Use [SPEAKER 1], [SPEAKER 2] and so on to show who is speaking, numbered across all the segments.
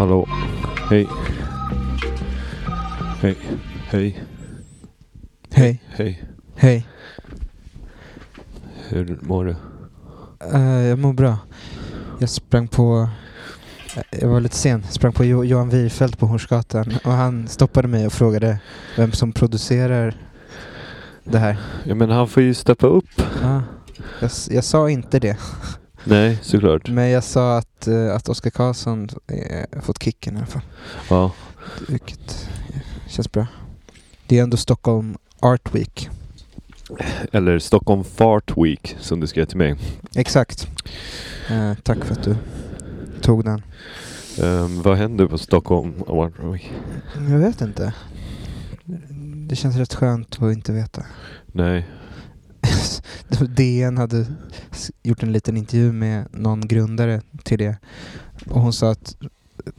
[SPEAKER 1] Hej. Hej. Hej.
[SPEAKER 2] Hej.
[SPEAKER 1] Hej.
[SPEAKER 2] Hej.
[SPEAKER 1] Hur mår du?
[SPEAKER 2] Eh, jag mår bra. Jag sprang på... eh, Jag var lite sen. Sprang på jo- Johan Wirfelt på Hornsgatan och han stoppade mig och frågade vem som producerar det här.
[SPEAKER 1] Ja men han får ju steppa upp.
[SPEAKER 2] Ja. jag, s- jag sa inte det,
[SPEAKER 1] Nej, såklart.
[SPEAKER 2] men jag sa att, eh, att Oskar Karlsson eh, fått kicken i alla fall.
[SPEAKER 1] Ja.
[SPEAKER 2] Vilket känns bra. Det är ändå Stockholm Art Week.
[SPEAKER 1] Eller Stockholm Fart Week som du skrev till mig.
[SPEAKER 2] Exakt. Eh, tack för att du tog den.
[SPEAKER 1] Ehm, vad händer på Stockholm Art Week?
[SPEAKER 2] Jag vet inte. Det känns rätt skönt att inte veta.
[SPEAKER 1] Nej.
[SPEAKER 2] DN hade s- gjort en liten intervju med någon grundare till det och hon sa att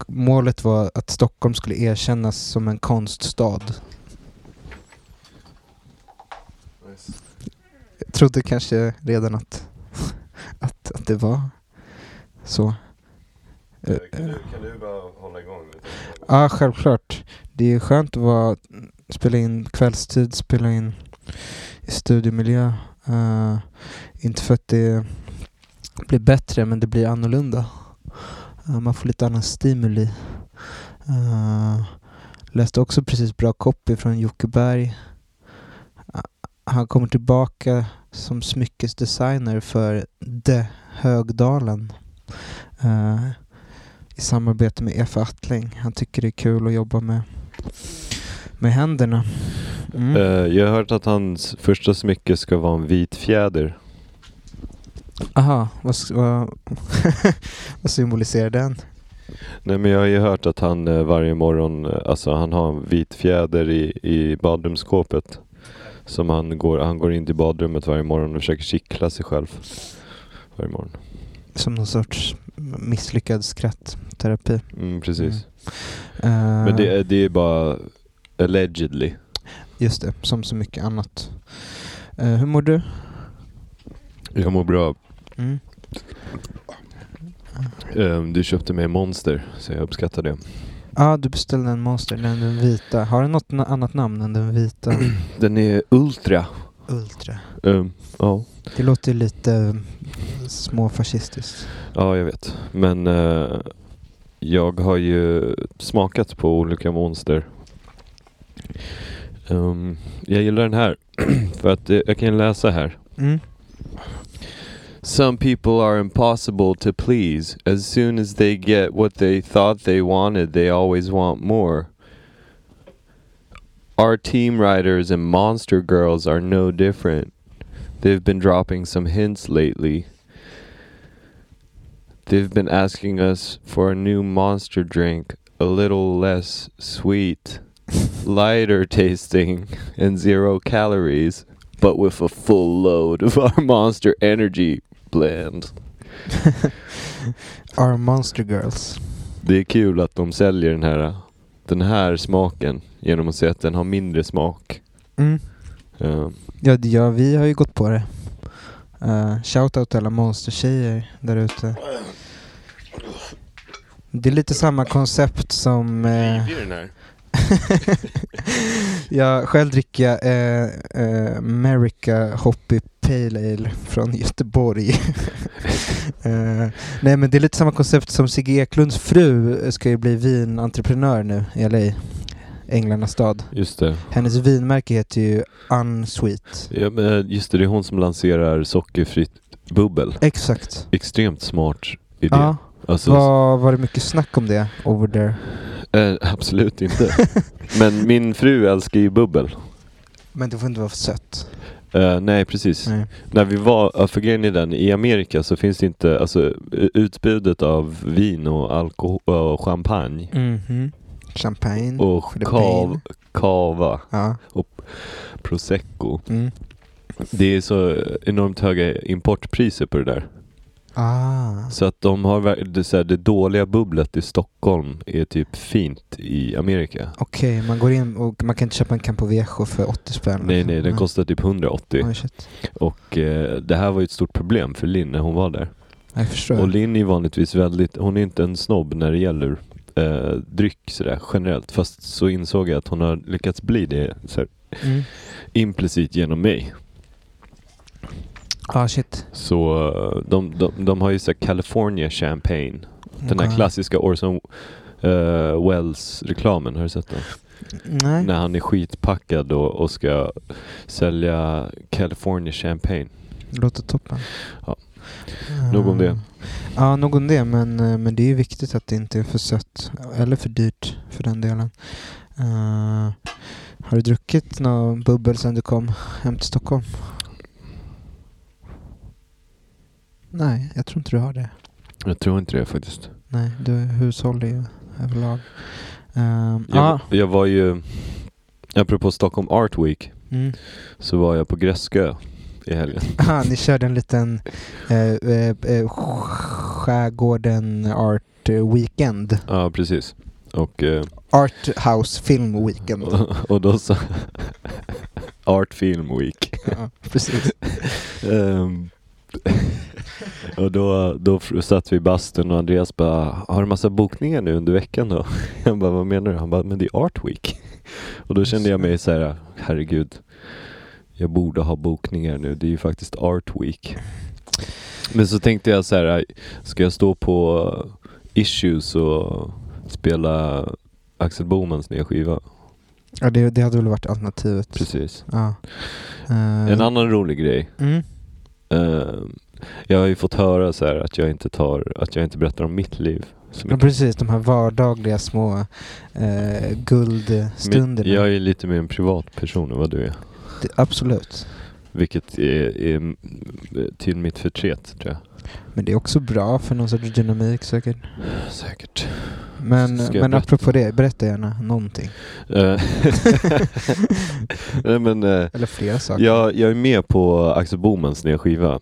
[SPEAKER 2] målet var att Stockholm skulle erkännas som en konststad. Jag trodde kanske redan att, att, att det var så. Eh, eh.
[SPEAKER 1] kan du bara hålla igång lite?
[SPEAKER 2] Ja, självklart. Det är ju skönt att vara, spela in kvällstid, spela in i studiemiljö. Eh, inte för att det blir bättre, men det blir annorlunda. Eh, man får lite annan stimuli. Eh, läste också precis bra copy från Jocke Berg. Ah, Han kommer tillbaka som smyckesdesigner för De Högdalen. Eh, i samarbete med Efe Attling. Han tycker det är kul att jobba med, med händerna. Mm.
[SPEAKER 1] Eh, jag har hört att hans första smycke ska vara en vit fjäder.
[SPEAKER 2] Aha, vad, s- vad, vad symboliserar den?
[SPEAKER 1] Nej men jag har ju hört att han eh, varje morgon, eh, alltså han har en vit fjäder i, i badrumsskåpet. Som han går, han går in till badrummet varje morgon och försöker kittla sig själv. Varje morgon.
[SPEAKER 2] Som någon sorts misslyckad skrattterapi.
[SPEAKER 1] Mm, precis.
[SPEAKER 2] Mm. Eh,
[SPEAKER 1] Men det, är- det är bara allegedly.
[SPEAKER 2] Just det, som så mycket annat. Eh, hur mår du?
[SPEAKER 1] Jag mår bra.
[SPEAKER 2] Mm.
[SPEAKER 1] Ehm, du köpte mig Monster, så jag uppskattar det.
[SPEAKER 2] ah, du beställde en monster, den, den vita. Har den något na- annat namn än den vita?
[SPEAKER 1] Den är Ultra.
[SPEAKER 2] Ultra.
[SPEAKER 1] Ehm, ja.
[SPEAKER 2] Det låter ju lite eh, småfascistiskt.
[SPEAKER 1] ja, jag vet. Men eh, jag har ju smakat på olika Monster. Ehm, jag gillar den här. För att eh, jag kan läsa här.
[SPEAKER 2] Mm.
[SPEAKER 1] Some people are impossible to please. As soon as they get what they thought they wanted, they always want more. Our team riders and monster girls are no different. They've been dropping some hints lately. They've been asking us for a new monster drink, a little less sweet, lighter tasting, and zero calories, but with a full load of our monster energy blend.
[SPEAKER 2] Our Monster Girls.
[SPEAKER 1] Det är kul att de säljer den här, den här smaken genom att säga att den har mindre smak.
[SPEAKER 2] Mm.
[SPEAKER 1] Eh,
[SPEAKER 2] Ja, det- ja, vi har ju gått på det. Uh, Shoutout till alla monstertjejer där ute. Det är lite samma koncept som... eh, jag själv dricker jag eh, eh, America Hoppy Pale Ale från Göteborg. Eh, nej men det är lite samma koncept som Sigge Eklunds fru ska ju bli vinentreprenör nu i LA, Änglarnas stad.
[SPEAKER 1] Just det.
[SPEAKER 2] Hennes vinmärke heter ju Unsweet.
[SPEAKER 1] Ja, men eh, just det, det är hon som lanserar sockerfritt bubbel.
[SPEAKER 2] Exakt.
[SPEAKER 1] Extremt smart idé.
[SPEAKER 2] Ja,
[SPEAKER 1] Alltså,
[SPEAKER 2] var, var det mycket snack om det over there?
[SPEAKER 1] eh, absolut inte. Men min fru älskar ju bubbel.
[SPEAKER 2] Men det får inte vara för sött.
[SPEAKER 1] Eh, nej, precis.
[SPEAKER 2] Nej.
[SPEAKER 1] När vi var, ja, för grejen är den, i Amerika så finns det inte, alltså u- utbudet av vin och alkohol och champagne
[SPEAKER 2] Mhm. Champagne.
[SPEAKER 1] och
[SPEAKER 2] for the
[SPEAKER 1] kav,
[SPEAKER 2] pain.
[SPEAKER 1] kava,
[SPEAKER 2] Ja.
[SPEAKER 1] prosecco.
[SPEAKER 2] Mm.
[SPEAKER 1] Det är så enormt höga importpriser på det
[SPEAKER 2] Mm.
[SPEAKER 1] där.
[SPEAKER 2] Ah.
[SPEAKER 1] Så att de har, ver- det, är så här, det dåliga bubblet i Stockholm är typ fint i Amerika.
[SPEAKER 2] Okej, man går in och man kan inte köpa en Campo Viejo för 80 spänn.
[SPEAKER 1] Nej nej, den
[SPEAKER 2] Mm.
[SPEAKER 1] kostar typ 180.
[SPEAKER 2] Oj, shit.
[SPEAKER 1] Och eh, det här var ju ett stort problem för Linn när hon var där.
[SPEAKER 2] Jag förstår.
[SPEAKER 1] Och Linn är vanligtvis väldigt, hon är inte en snobb när det gäller eh, dryck sådär generellt. Fast så insåg jag att hon har lyckats bli det så här,
[SPEAKER 2] Mm.
[SPEAKER 1] implicit genom mig.
[SPEAKER 2] Ah shit.
[SPEAKER 1] Så eh, de, de, de har ju så här California Champagne. Den här
[SPEAKER 2] Okej.
[SPEAKER 1] klassiska Orson eh, Welles-reklamen, har du sett den?
[SPEAKER 2] Nej.
[SPEAKER 1] När han är skitpackad och, och ska sälja California Champagne.
[SPEAKER 2] Låter toppen.
[SPEAKER 1] Ja. Nog om
[SPEAKER 2] Eh,
[SPEAKER 1] det.
[SPEAKER 2] Ja, nog om det. Men, eh, men det är ju viktigt att det inte är för sött. Eller för dyrt för den delen. Eh, har du druckit någon bubbel sedan du kom hem till Stockholm? Nej, jag tror inte du har det.
[SPEAKER 1] Jag tror inte det faktiskt.
[SPEAKER 2] Nej, du är hushållig ju överlag. Ehm,
[SPEAKER 1] Jag,
[SPEAKER 2] ja.
[SPEAKER 1] jag var ju, apropå Stockholm Art Week,
[SPEAKER 2] Mm.
[SPEAKER 1] så var jag på Gräskö i helgen.
[SPEAKER 2] Ah, ni körde en liten eh, eh, eh, skärgården art weekend.
[SPEAKER 1] Ja, precis. Och, eh,
[SPEAKER 2] Art house film weekend.
[SPEAKER 1] och, och då så... Art Film Week.
[SPEAKER 2] ja, precis.
[SPEAKER 1] Ehm, och då, då fr- satt vi i bastun och Andreas bara, har du massa bokningar nu under veckan då? Jag bara, vad menar du? Han bara, men det är Art Week. Och då kände jag mig så här, herregud, jag borde ha bokningar nu, det är ju faktiskt Art Week. Men så tänkte jag så här, ska jag stå på Issues och spela Axel Bomans nya skiva?
[SPEAKER 2] Ja, det, det hade väl varit alternativet.
[SPEAKER 1] Precis.
[SPEAKER 2] Ja. Ehm,
[SPEAKER 1] En annan rolig grej
[SPEAKER 2] mm.
[SPEAKER 1] Eh, jag har ju fått höra så här att jag inte tar, att jag inte berättar om mitt liv. Så
[SPEAKER 2] ja,
[SPEAKER 1] mycket.
[SPEAKER 2] precis. De här vardagliga små eh, guldstunderna.
[SPEAKER 1] Men Jag är lite mer en privatperson än vad du är.
[SPEAKER 2] Det- Absolut.
[SPEAKER 1] Vilket är, är mm, till mitt förtret tror jag.
[SPEAKER 2] Men det är också bra för någon sorts dynamik säkert.
[SPEAKER 1] Säkert.
[SPEAKER 2] Men,
[SPEAKER 1] Ska jag
[SPEAKER 2] men
[SPEAKER 1] berätta?
[SPEAKER 2] apropå det, berätta gärna någonting.
[SPEAKER 1] Eh, Nej men eh,
[SPEAKER 2] Eller flera saker.
[SPEAKER 1] jag, jag är med på Axel Bomans nya skiva.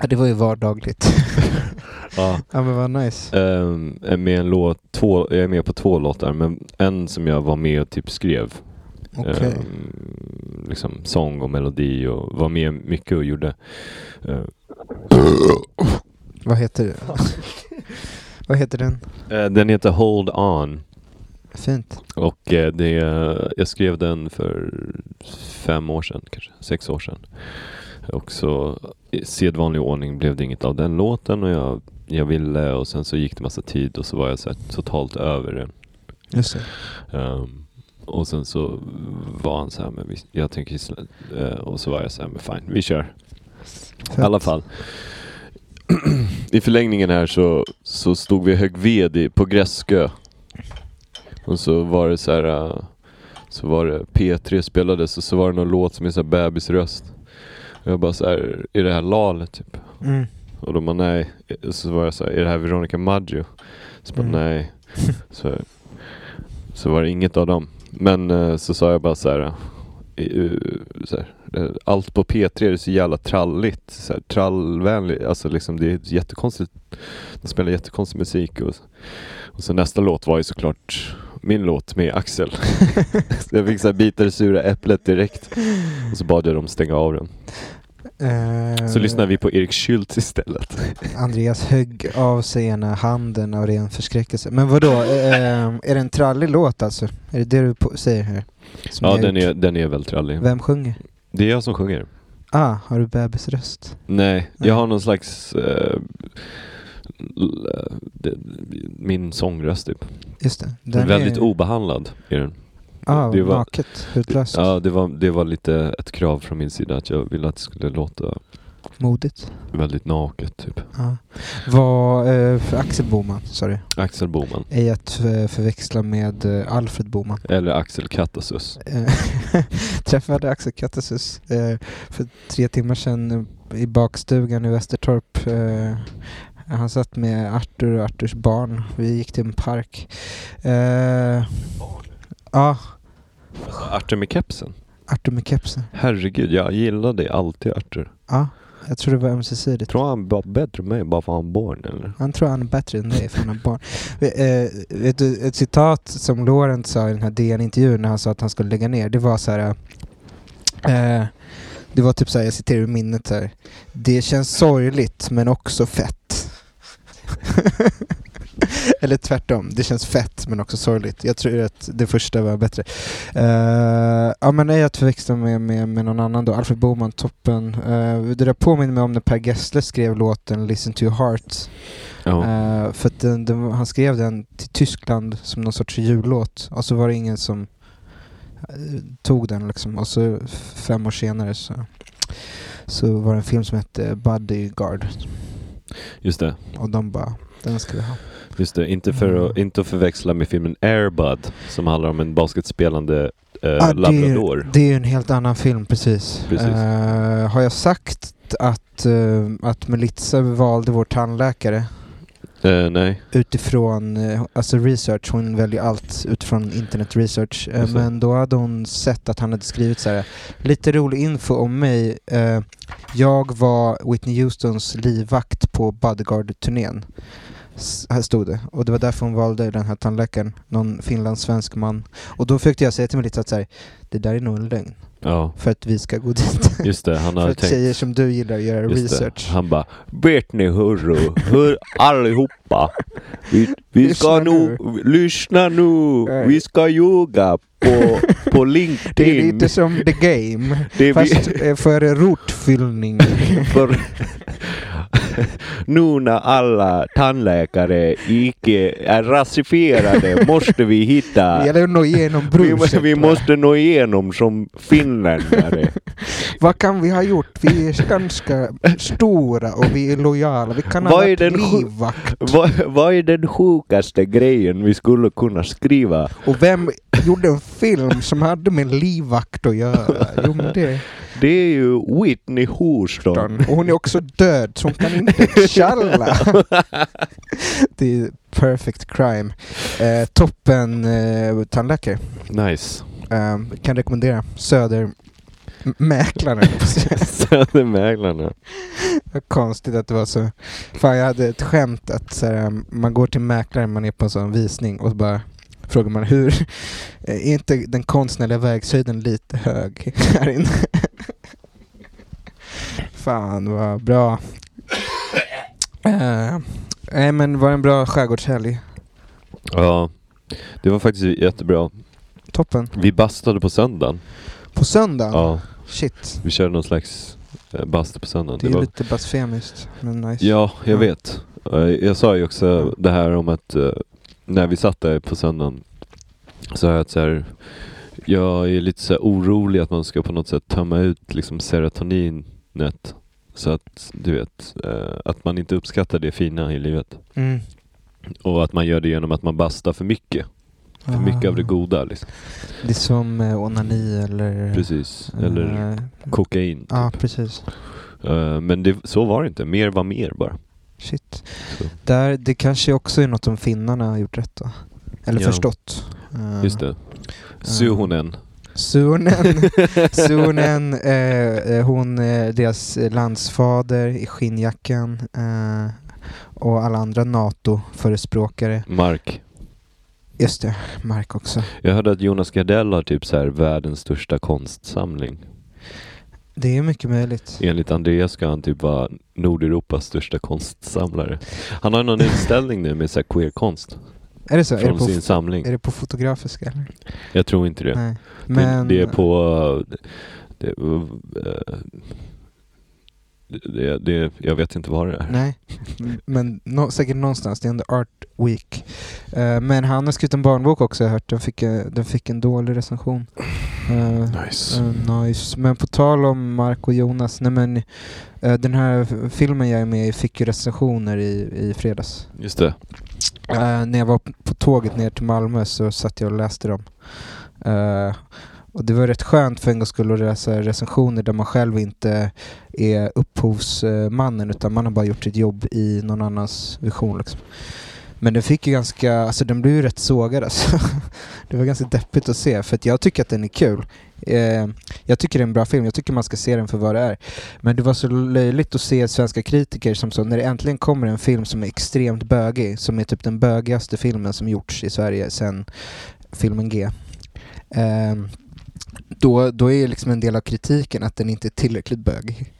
[SPEAKER 2] Ja, det var ju vardagligt.
[SPEAKER 1] Ja.
[SPEAKER 2] ja men vad nice.
[SPEAKER 1] Ehm, med en låt, två, jag är med på två låtar men en som jag var med och typ skrev.
[SPEAKER 2] Okej.
[SPEAKER 1] Eh. Ehm, liksom sång och melodi och var med mycket och gjorde. Ehm,
[SPEAKER 2] Vad heter det? vad heter den?
[SPEAKER 1] Eh, Den heter Hold On
[SPEAKER 2] Fint.
[SPEAKER 1] och eh, det, är- jag skrev den för fem år sedan, kanske sex år sedan. Och så i sedvanlig ordning blev det inget av den låten och jag, jag ville och sen så gick det massa tid och så var jag så här totalt över den.
[SPEAKER 2] Just det.
[SPEAKER 1] Ehm, och sen så var han så här, men vi, jag tänker slä- eh, och så var jag så här, men fine, vi kör. I alla fall. I förlängningen här så, så stod vi i hög ved i, på Gräskö. Och så var det så här... äh, Så var det P3 spelades och så var det någon låt som är så här bebisröst. Och jag bara så här, är det här Lale typ?
[SPEAKER 2] Mm.
[SPEAKER 1] Och de bara nej. Så var jag så här, är det här Veronica Maggio? Så bara
[SPEAKER 2] Mm.
[SPEAKER 1] nej. Så, så var det inget av dem. Men eh, så sa jag bara så här. eh, eh, Så här eh, allt på P3 är så jävla tralligt. Så här, trallvänligt. Alltså liksom det är ett jättekonstigt. De spelar jättekonstig musik. Och, och så nästa låt var ju såklart min låt med Axel. så jag fick så här bita det sura äpplet direkt. Och så bad jag dem stänga av den.
[SPEAKER 2] Eh,
[SPEAKER 1] Så lyssnade vi på Erik Skylt istället.
[SPEAKER 2] Andreas högg av sig ena handen av ren förskräckelse. Men vadå, eh, är det en trallig låt alltså? Är det det du på- säger här? Som
[SPEAKER 1] Ja,
[SPEAKER 2] jag
[SPEAKER 1] den
[SPEAKER 2] gjort?
[SPEAKER 1] är, den är väldigt trallig.
[SPEAKER 2] Vem sjunger?
[SPEAKER 1] Det är jag som sjunger.
[SPEAKER 2] Ah, har du bebisröst?
[SPEAKER 1] Nej,
[SPEAKER 2] Nej.
[SPEAKER 1] jag har någon slags... eh, l- eh, det- min sångröst typ.
[SPEAKER 2] Just det. Den
[SPEAKER 1] väldigt
[SPEAKER 2] är,
[SPEAKER 1] obehandlad är den.
[SPEAKER 2] ah,
[SPEAKER 1] det var-
[SPEAKER 2] naket, utlöst,
[SPEAKER 1] Ja, det var, det var lite ett krav från min sida att jag ville att det skulle låta
[SPEAKER 2] modigt.
[SPEAKER 1] väldigt naket typ.
[SPEAKER 2] Ja. Var eh, för Axel Boman, sorry.
[SPEAKER 1] Axel Boman.
[SPEAKER 2] Ej att för- förväxla med eh, Alfred Boman.
[SPEAKER 1] Eller Axel Katasus.
[SPEAKER 2] Eh, Träffade Axel Kattasus eh, för tre timmar sedan eh, i bakstugan i Västertorp. Eh, han satt med Arthur och Arthurs barn. Vi gick till en park. Eh, ja,
[SPEAKER 1] Alltså, Arthur med kepsen.
[SPEAKER 2] Arthur med kepsen.
[SPEAKER 1] Herregud, jag gillade alltid Arthur.
[SPEAKER 2] Ja, jag tror det var ömsesidigt.
[SPEAKER 1] Tror han var bättre än mig bara för han barn eller?
[SPEAKER 2] Han tror han är bättre än dig för han har barn. Eh, vet du, ett citat som Lorentz sa i den här DN-intervjun när han sa att han skulle lägga ner, det var så här... Eh, det var typ så här, jag citerar ur minnet så här. Det känns sorgligt men också fett. Eller tvärtom, det känns fett men också sorgligt. Jag tror att det första var bättre. Eh, ja men nej, jag förväxlade med, med, med någon annan då, Alfred Boman, toppen. Eh, det där påminner mig om när Per Gessle skrev låten Listen to your heart.
[SPEAKER 1] Ja.
[SPEAKER 2] Eh, för att den, den, han skrev den till Tyskland som någon sorts jullåt och så var det ingen som eh, tog den liksom. Och så f- fem år senare så, så var det en film som hette Bodyguard
[SPEAKER 1] Just det,
[SPEAKER 2] och de bara den ska vi
[SPEAKER 1] Eh,
[SPEAKER 2] ha.
[SPEAKER 1] just det. Inte, för att,
[SPEAKER 2] Mm.
[SPEAKER 1] inte att förväxla med filmen Airbud som handlar om en basketspelande eh,
[SPEAKER 2] Ah,
[SPEAKER 1] labrador.
[SPEAKER 2] Det är, det är ju en helt annan film, precis.
[SPEAKER 1] Precis.
[SPEAKER 2] Eh, har jag sagt att, eh, att Melitza valde vår tandläkare
[SPEAKER 1] Eh, nej,
[SPEAKER 2] utifrån eh, alltså research? Hon väljer allt utifrån internet research. Eh,
[SPEAKER 1] Just det.
[SPEAKER 2] men då hade hon sett att han hade skrivit så här, lite rolig info om mig. Eh, jag var Whitney Houstons livvakt på Bodyguard-turnén. S- Här stod det. Och det var därför hon valde den här tandläkaren, någon finlandssvensk man. Och då försökte jag säga till mig lite att så här, det där är nog en lögn
[SPEAKER 1] ja.
[SPEAKER 2] för att vi ska gå dit.
[SPEAKER 1] Just det, han
[SPEAKER 2] för
[SPEAKER 1] hade
[SPEAKER 2] att
[SPEAKER 1] tänkt...
[SPEAKER 2] tjejer som du gillar att göra
[SPEAKER 1] Just det.
[SPEAKER 2] research.
[SPEAKER 1] Han bara Vet ni hörru, hör allihopa. Vi, vi ska
[SPEAKER 2] Lyssna
[SPEAKER 1] nu, lyssna nu.
[SPEAKER 2] Nej.
[SPEAKER 1] Vi ska ljuga på, på LinkedIn.
[SPEAKER 2] Det är lite som the game,
[SPEAKER 1] Det är
[SPEAKER 2] fast
[SPEAKER 1] vi,
[SPEAKER 2] eh, för rotfyllning.
[SPEAKER 1] för, nu när alla tandläkare icke är rasifierade måste vi
[SPEAKER 2] Det
[SPEAKER 1] hitta
[SPEAKER 2] gäller att nå igenom
[SPEAKER 1] vi, må-
[SPEAKER 2] bruset.
[SPEAKER 1] vi
[SPEAKER 2] va?
[SPEAKER 1] måste nå igenom som finländare.
[SPEAKER 2] Vad kan vi ha gjort? Vi är ganska stora och vi är lojala. Vi kan ha
[SPEAKER 1] Vad är
[SPEAKER 2] varit
[SPEAKER 1] den sju-
[SPEAKER 2] livvakt.
[SPEAKER 1] vad, vad är den sjukaste grejen vi skulle kunna skriva?
[SPEAKER 2] Och vem gjorde en film som hade med livvakt att göra? Jo, men det...
[SPEAKER 1] Det är ju Whitney Houston.
[SPEAKER 2] Och hon är också död, så hon kan inte tjalla. det är perfect crime. Eh, toppen eh, tandläkare.
[SPEAKER 1] Nice.
[SPEAKER 2] Eh, kan rekommendera Södermäklaren.
[SPEAKER 1] Södermäklarna.
[SPEAKER 2] Konstigt att det var så. Fan, jag hade ett skämt att så här, um, man går till mäklaren, man är på en sån visning och så bara frågar man hur är inte den konstnärliga verkshöjden lite hög här inne? Fan vad bra. Eh, Nej men var en bra skärgårdshelg.
[SPEAKER 1] Ja. Det var faktiskt jättebra.
[SPEAKER 2] Toppen.
[SPEAKER 1] Vi bastade på söndagen.
[SPEAKER 2] På söndag?
[SPEAKER 1] Ja.
[SPEAKER 2] Shit.
[SPEAKER 1] Vi körde någon slags eh, bastu på söndagen.
[SPEAKER 2] Det är
[SPEAKER 1] Det var-
[SPEAKER 2] lite blasfemiskt men nice.
[SPEAKER 1] Ja, jag
[SPEAKER 2] Ja.
[SPEAKER 1] vet. Eh, Jag sa ju också det här om att eh, när vi satt där på söndagen sa jag att så här, jag är lite så här orolig att man ska på något sätt tömma ut liksom serotoninet. Så att du vet, eh, att man inte uppskattar det fina i livet.
[SPEAKER 2] Mm.
[SPEAKER 1] Och att man gör det genom att man bastar för mycket. För mycket av
[SPEAKER 2] Ah.
[SPEAKER 1] det goda liksom.
[SPEAKER 2] Eh. Det är som eh, onani eller...
[SPEAKER 1] Precis. Eller
[SPEAKER 2] eh,
[SPEAKER 1] kokain. typ.
[SPEAKER 2] Ja, precis.
[SPEAKER 1] Eh, Men det, så var det inte. Mer var mer bara.
[SPEAKER 2] Shit.
[SPEAKER 1] Så.
[SPEAKER 2] Där, det kanske också är något som finnarna har gjort rätt då. Eller
[SPEAKER 1] Ja.
[SPEAKER 2] förstått. Eh,
[SPEAKER 1] Just det. Suhonen.
[SPEAKER 2] Suonen, Suonen eh, eh, hon, eh, deras eh, landsfader i skinnjackan eh, och alla andra NATO-förespråkare.
[SPEAKER 1] Mark.
[SPEAKER 2] Just det, Mark också.
[SPEAKER 1] Jag hörde att Jonas Gardell har typ så här världens största konstsamling.
[SPEAKER 2] Det är mycket möjligt.
[SPEAKER 1] Enligt Andreas ska han typ vara Nordeuropas största konstsamlare. Han har någon utställning nu med så här queerkonst
[SPEAKER 2] Är det så? Är det,
[SPEAKER 1] från
[SPEAKER 2] på,
[SPEAKER 1] sin samling.
[SPEAKER 2] är det på fotografiska eller?
[SPEAKER 1] Jag tror inte det.
[SPEAKER 2] Nej.
[SPEAKER 1] Men...
[SPEAKER 2] Men,
[SPEAKER 1] Det, det är på... Det, eh, det, det, jag vet inte vad det är.
[SPEAKER 2] Nej, m- men nå- säkert någonstans. Det är under Art Week. Eh, men han har skrivit en barnbok också har jag hört. Den fick, eh, den fick en dålig recension. Eh,
[SPEAKER 1] Nice.
[SPEAKER 2] eh, nice. Men på tal om Mark och Jonas. Nej men, eh, den här f- filmen jag är med i fick ju recensioner i, i fredags.
[SPEAKER 1] Just det.
[SPEAKER 2] Eh, när jag var p- på tåget ner till Malmö så satt jag och läste dem. Eh, och det var rätt skönt för en gångs skull att läsa recensioner där man själv inte är upphovsmannen utan man har bara gjort sitt jobb i någon annans vision. Liksom. Men den fick ju ganska, alltså den blev ju rätt sågad alltså. Det var ganska deppigt att se för att jag tycker att den är kul. Eh, jag tycker det är en bra film, jag tycker man ska se den för vad det är. Men det var så löjligt att se svenska kritiker som så, när det äntligen kommer en film som är extremt bögig, som är typ den bögigaste filmen som gjorts i Sverige sedan filmen G. Ehm, då, då är liksom en del av kritiken att den inte är tillräckligt bögig.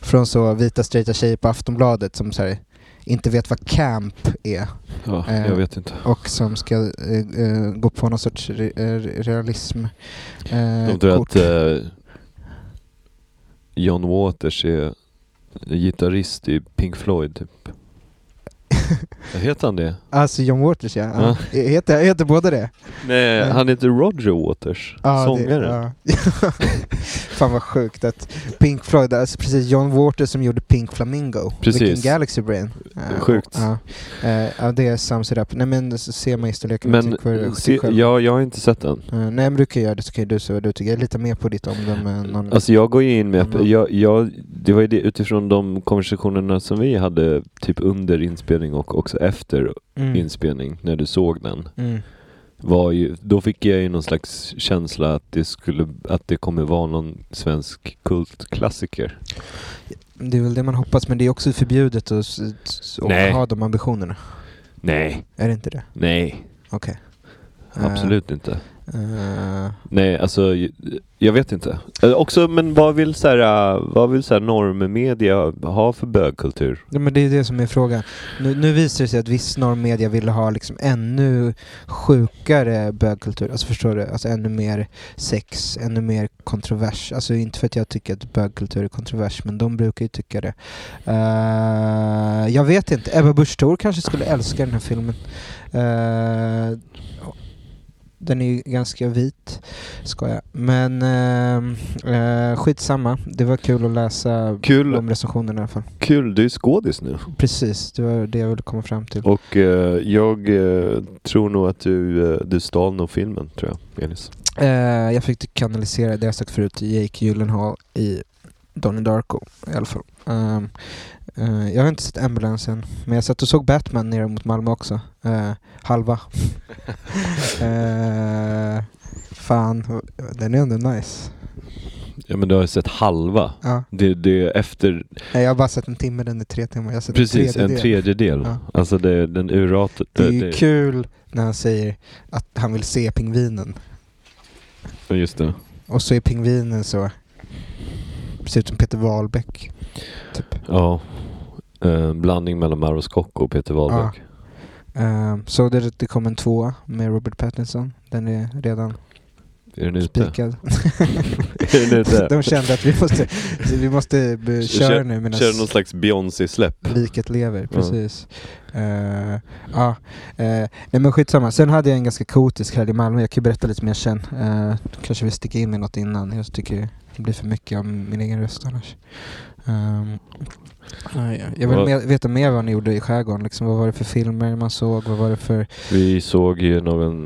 [SPEAKER 2] Från så vita straighta tjejer på Aftonbladet som säger inte vet vad camp är
[SPEAKER 1] Ja,
[SPEAKER 2] Eh,
[SPEAKER 1] jag vet inte.
[SPEAKER 2] och som ska eh, eh, gå på någon sorts re, eh, realism. eh,
[SPEAKER 1] De tror
[SPEAKER 2] kort.
[SPEAKER 1] att eh, John Waters är gitarrist i Pink Floyd typ. Heter han det?
[SPEAKER 2] Alltså John Waters ja. ja. Heter, heter båda det?
[SPEAKER 1] Nej,
[SPEAKER 2] Nej.
[SPEAKER 1] han heter Roger Waters.
[SPEAKER 2] Eh. Ja,
[SPEAKER 1] sångaren.
[SPEAKER 2] Det, ja. Fan vad sjukt att Pink Floyd, alltså precis John Waters som gjorde Pink Flamingo.
[SPEAKER 1] Precis.
[SPEAKER 2] Vilken Galaxy Brain. Ja,
[SPEAKER 1] Sjukt.
[SPEAKER 2] Ja, Eh, ja det är Sums It Up. Nej men så ser man historiken med
[SPEAKER 1] Men
[SPEAKER 2] musikkår-
[SPEAKER 1] se,
[SPEAKER 2] musikkår.
[SPEAKER 1] jag, jag har inte sett den.
[SPEAKER 2] Eh, Nej men du kan göra det så kan ju du säga vad du tycker. Jag litar mer på ditt omdöme än någon
[SPEAKER 1] Alltså jag går ju in med,
[SPEAKER 2] Mm.
[SPEAKER 1] jag, jag, det var ju det utifrån de konversationerna som vi hade typ under inspelning och också efter
[SPEAKER 2] mm.
[SPEAKER 1] inspelning när du såg den.
[SPEAKER 2] Mm.
[SPEAKER 1] Var ju, då fick jag ju någon slags känsla att det, skulle, att det kommer vara någon svensk kultklassiker.
[SPEAKER 2] Det är väl det man hoppas men det är också förbjudet att, s- s-
[SPEAKER 1] Nej.
[SPEAKER 2] att ha de ambitionerna.
[SPEAKER 1] Nej,
[SPEAKER 2] Är det inte det?
[SPEAKER 1] nej,
[SPEAKER 2] Okej. Eh,
[SPEAKER 1] absolut inte.
[SPEAKER 2] eh,
[SPEAKER 1] Nej, alltså j- jag vet inte. Eh, Också, men vad vill så här, eh, vad vill så här normmedia ha för bögkultur?
[SPEAKER 2] Ja, men det är det som är frågan. Nu, nu visar det sig att viss normmedia ville ha liksom ännu sjukare bögkultur. Alltså förstår du? Alltså ännu mer sex, ännu mer kontrovers. Alltså inte för att jag tycker att bögkultur är kontrovers, men de brukar ju tycka det. Eh, jag vet inte. Ebba Busch Thor kanske skulle älska den här filmen. Eh, den är ju ganska vit, ska jag. Men eh, eh, skitsamma. Det var kul att läsa
[SPEAKER 1] Kul,
[SPEAKER 2] de recensionerna i alla fall.
[SPEAKER 1] kul, du är skådis nu.
[SPEAKER 2] Precis, det var det jag ville komma fram till.
[SPEAKER 1] Och eh, jag eh, tror nog att du, eh, du stal nog filmen, tror jag, Elis.
[SPEAKER 2] Eh, jag fick kanalisera det jag sagt förut, Jake Gyllenhaal i Donnie Darko i alla fall. Ehm, eh, jag har inte sett Ambulance än, men jag satt och såg Batman nere mot Malmö också. Eh, halva. Eh, fan, den är ändå nice.
[SPEAKER 1] Ja, men du har ju sett halva.
[SPEAKER 2] Ja.
[SPEAKER 1] Det, det är efter,
[SPEAKER 2] Nej, jag har bara sett en timme, den är tre timmar. Jag har sett
[SPEAKER 1] precis,
[SPEAKER 2] tredjedel.
[SPEAKER 1] en tredjedel.
[SPEAKER 2] Ja.
[SPEAKER 1] Alltså det, den urratet.
[SPEAKER 2] Det är ju kul när han säger att han vill se pingvinen.
[SPEAKER 1] Ja, Just det.
[SPEAKER 2] Och så är pingvinen så... Ser ut som Peter Wahlbeck. Typ.
[SPEAKER 1] Ja. Eh, blandning mellan Maros Scocco och Peter Wahlbeck.
[SPEAKER 2] Ehm, så det, det kom en tvåa med Robert Pattinson. Den är redan
[SPEAKER 1] Är den ute?
[SPEAKER 2] spikad.
[SPEAKER 1] är den ute?
[SPEAKER 2] De kände att vi måste, vi måste be- köra nu medan
[SPEAKER 1] Kör någon slags Beyoncé-släpp.
[SPEAKER 2] liket lever. Precis. Eh, ja, eh, nej men skitsamma. Sen hade jag en ganska kaotisk helg i Malmö. Jag kan ju berätta lite mer sen. Eh, kanske vi sticker in med något innan. Jag tycker det blir för mycket av min egen röst annars. Ehm, ja, ja. jag vill
[SPEAKER 1] Vad-
[SPEAKER 2] mer, veta mer vad ni gjorde i skärgården. Liksom, vad var det för filmer man såg? Vad var det för...
[SPEAKER 1] Vi såg ju någon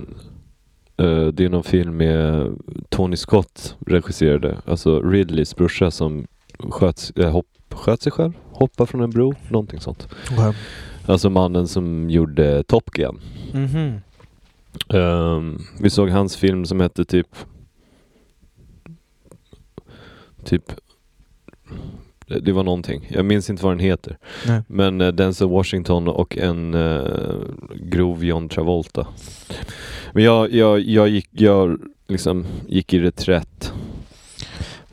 [SPEAKER 1] eh, Det är någon film med Tony Scott regisserade Alltså Ridleys brorsa som sköt, eh, hopp, sköt sig själv Hoppade från en bro, någonting sånt Alltså mannen som gjorde Top Gun
[SPEAKER 2] Mhm.
[SPEAKER 1] Ehm, Vi såg hans film som hette typ Typ det det var någonting. Jag minns inte vad den heter.
[SPEAKER 2] Nej.
[SPEAKER 1] Men eh, Denzel Washington och en eh, grov John Travolta. Men jag, jag, jag, gick, jag liksom gick i reträtt.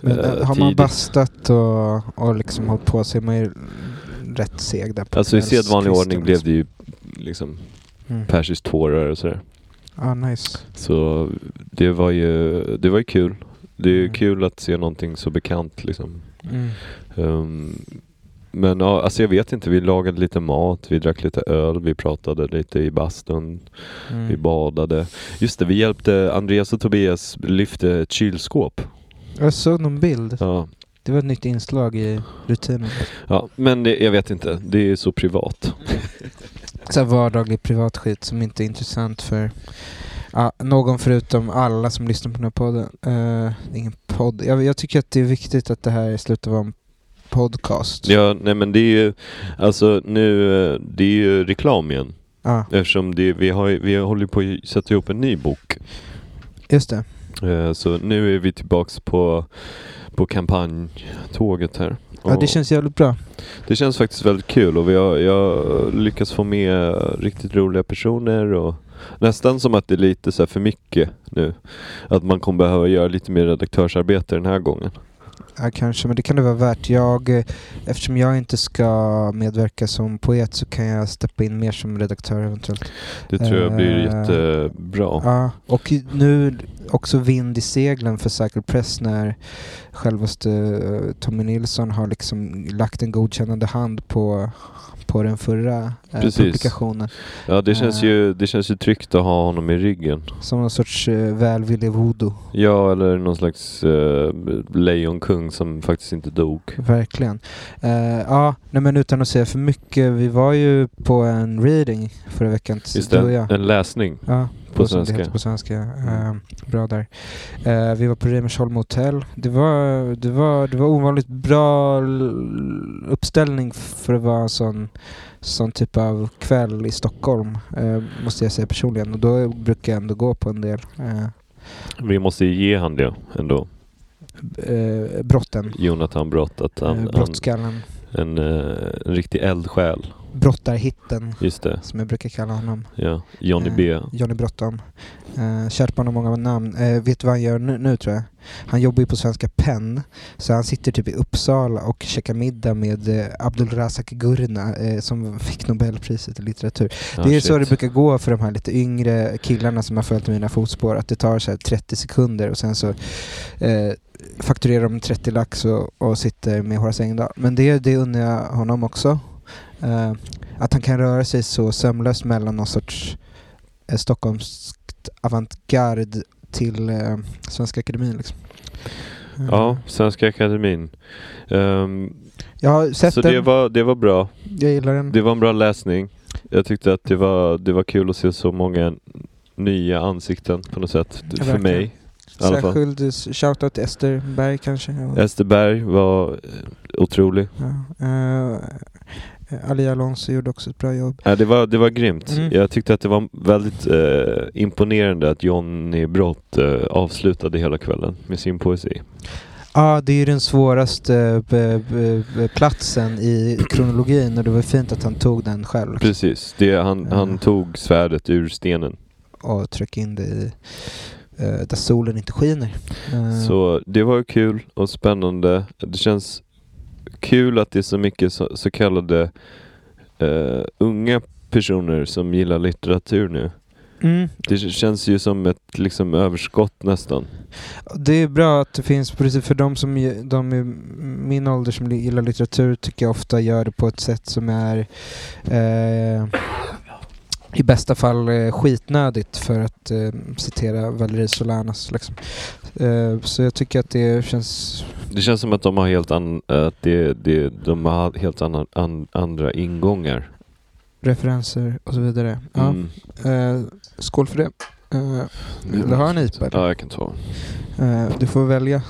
[SPEAKER 2] Men,
[SPEAKER 1] eh,
[SPEAKER 2] eh, har man
[SPEAKER 1] tidigt.
[SPEAKER 2] bastat och, och liksom hållit på så är man ju rätt seg där. på
[SPEAKER 1] Alltså i
[SPEAKER 2] kvällskvisten,
[SPEAKER 1] sedvanlig ordning blev
[SPEAKER 2] liksom.
[SPEAKER 1] det ju liksom
[SPEAKER 2] Mm.
[SPEAKER 1] persiskt tårar och sådär.
[SPEAKER 2] Ah, nice.
[SPEAKER 1] Så det var ju, det var ju kul. Det är ju
[SPEAKER 2] Mm.
[SPEAKER 1] kul att se någonting så bekant liksom.
[SPEAKER 2] Mm.
[SPEAKER 1] Ehm, men ja, alltså jag vet inte, vi lagade lite mat, vi drack lite öl, vi pratade lite i bastun.
[SPEAKER 2] Mm.
[SPEAKER 1] Vi badade. Just det, vi hjälpte Andreas och Tobias lyfte ett kylskåp.
[SPEAKER 2] Jag såg någon bild.
[SPEAKER 1] Ja,
[SPEAKER 2] Det var ett nytt inslag i rutinen.
[SPEAKER 1] ja men det, jag vet inte. Det är så privat.
[SPEAKER 2] Så här vardaglig privat skit som inte är intressant för ja, någon förutom alla som lyssnar på den här podden. Eh, det är ingen podd. Jag, jag tycker att det är viktigt att det här slutar vara en podcast.
[SPEAKER 1] Ja, nej men det är ju, alltså nu, eh, det är ju reklam igen.
[SPEAKER 2] Ja,
[SPEAKER 1] Eftersom det, vi, har, ju- vi håller på att sätta ihop en ny bok.
[SPEAKER 2] just det.
[SPEAKER 1] Eh, Så nu är vi tillbaks på, på kampanjtåget här.
[SPEAKER 2] Ja, det
[SPEAKER 1] Och-
[SPEAKER 2] känns jävligt bra.
[SPEAKER 1] Det känns faktiskt väldigt kul och vi har, jag lyckas få med riktigt roliga personer och nästan som att det är lite så här för mycket nu. Att man kommer behöva göra lite mer redaktörsarbete den här gången.
[SPEAKER 2] Ja, kanske, men det kan det vara värt. Jag, eh, eftersom jag inte ska medverka som poet så kan jag steppa in mer som redaktör eventuellt.
[SPEAKER 1] Det tror jag blir
[SPEAKER 2] Eh,
[SPEAKER 1] jättebra.
[SPEAKER 2] Ja, och i- nu också vind i seglen för Cycle Press när självaste eh, Tommy Nilsson har liksom lagt en godkännande hand på, på den förra eh,
[SPEAKER 1] Precis.
[SPEAKER 2] publikationen.
[SPEAKER 1] Ja, det känns,
[SPEAKER 2] eh.
[SPEAKER 1] ju, det känns ju tryggt att ha honom i ryggen.
[SPEAKER 2] Som någon sorts eh, välvillig voodoo.
[SPEAKER 1] Ja, eller någon slags eh, lejonkung som faktiskt inte dog.
[SPEAKER 2] Verkligen. Eh, ja, nej men utan att säga för mycket. Vi var ju på en reading förra veckan. t-
[SPEAKER 1] Just
[SPEAKER 2] du och
[SPEAKER 1] det,
[SPEAKER 2] jag.
[SPEAKER 1] en läsning.
[SPEAKER 2] Ja,
[SPEAKER 1] På
[SPEAKER 2] på som det
[SPEAKER 1] svenska. Mm.
[SPEAKER 2] heter på svenska. Eh, bra där. Eh, vi var på Reimersholm hotell. Det var, det, var, det var ovanligt bra l- uppställning för att vara en sån, sån typ av kväll i Stockholm. eh, måste jag säga personligen. Och då brukar jag ändå gå på en del. eh,
[SPEAKER 1] Vi måste ju ge han det ändå.
[SPEAKER 2] b- eh, brotten.
[SPEAKER 1] Jonathan Brott, att han,
[SPEAKER 2] eh,
[SPEAKER 1] han
[SPEAKER 2] brottskallen.
[SPEAKER 1] en, eh, en riktig eldsjäl.
[SPEAKER 2] Brottarhitten.
[SPEAKER 1] Just det,
[SPEAKER 2] Som jag brukar kalla honom.
[SPEAKER 1] ja. Johnny
[SPEAKER 2] Eh,
[SPEAKER 1] B.
[SPEAKER 2] Johnny Bråttom. Eh, kärt barn har många namn. Eh, vet du vad han gör nu, nu tror jag? Han jobbar ju på Svenska PEN. Så han sitter typ i Uppsala och käkar middag med eh, Abdulrazak Gurna eh, som fick Nobelpriset i litteratur.
[SPEAKER 1] Ja,
[SPEAKER 2] det är
[SPEAKER 1] shit.
[SPEAKER 2] så det brukar gå för de här lite yngre killarna som har följt mina fotspår. Att det tar så här 30 sekunder och sen så eh, fakturerar de 30 lax och, och sitter med Horace Engdahl. Men det, det unnar jag honom också. Eh, att han kan röra sig så sömlöst mellan någon sorts eh, stockholmskt avantgarde till eh, Svenska Akademin. Liksom. Eh,
[SPEAKER 1] Ja, Svenska Akademin. Ehm,
[SPEAKER 2] Jag har sett
[SPEAKER 1] så
[SPEAKER 2] den, Mm.
[SPEAKER 1] det var, det var bra.
[SPEAKER 2] jag gillar den.
[SPEAKER 1] Det var en bra läsning. Jag tyckte att det var, det var kul att se så många nya ansikten på något sätt.
[SPEAKER 2] Ja,
[SPEAKER 1] För
[SPEAKER 2] verkligen.
[SPEAKER 1] mig. i alla fall.
[SPEAKER 2] Särskild eh, shoutout till Ester Berg kanske. Ja.
[SPEAKER 1] Ester Berg var eh, otrolig.
[SPEAKER 2] Ja, eh, Ali Alonso gjorde också ett bra jobb.
[SPEAKER 1] Ja, det, var, det var grymt.
[SPEAKER 2] Mm.
[SPEAKER 1] Jag tyckte att det var väldigt eh, imponerande att Johnny Brott eh, avslutade hela kvällen med sin poesi.
[SPEAKER 2] Ja, det är ju den svåraste b- b- b- platsen i kronologin och det var fint att han tog den själv
[SPEAKER 1] Precis, det, han, han
[SPEAKER 2] Ja.
[SPEAKER 1] tog svärdet ur stenen.
[SPEAKER 2] och tryckte in det i eh, där solen inte skiner. Eh,
[SPEAKER 1] Så det var kul och spännande. Det känns kul att det är så mycket så, så kallade eh, unga personer som gillar litteratur nu.
[SPEAKER 2] Mm.
[SPEAKER 1] Det k- känns ju som ett liksom överskott nästan.
[SPEAKER 2] Det är bra att det finns, precis för de som ju- de i min ålder som li- gillar litteratur tycker jag ofta gör det på ett sätt som är eh, i bästa fall eh, skitnödigt för att eh, citera Valerie Solanas. Liksom. Eh, så jag tycker att det känns...
[SPEAKER 1] Det känns som att de har helt, an, att det, det, de har helt annan- an, andra ingångar.
[SPEAKER 2] Referenser och så vidare. Ja.
[SPEAKER 1] Mm.
[SPEAKER 2] Eh, skål för det. Eh, vill du ha en IPA? eller?
[SPEAKER 1] Ja, jag kan ta.
[SPEAKER 2] Eh, du får välja.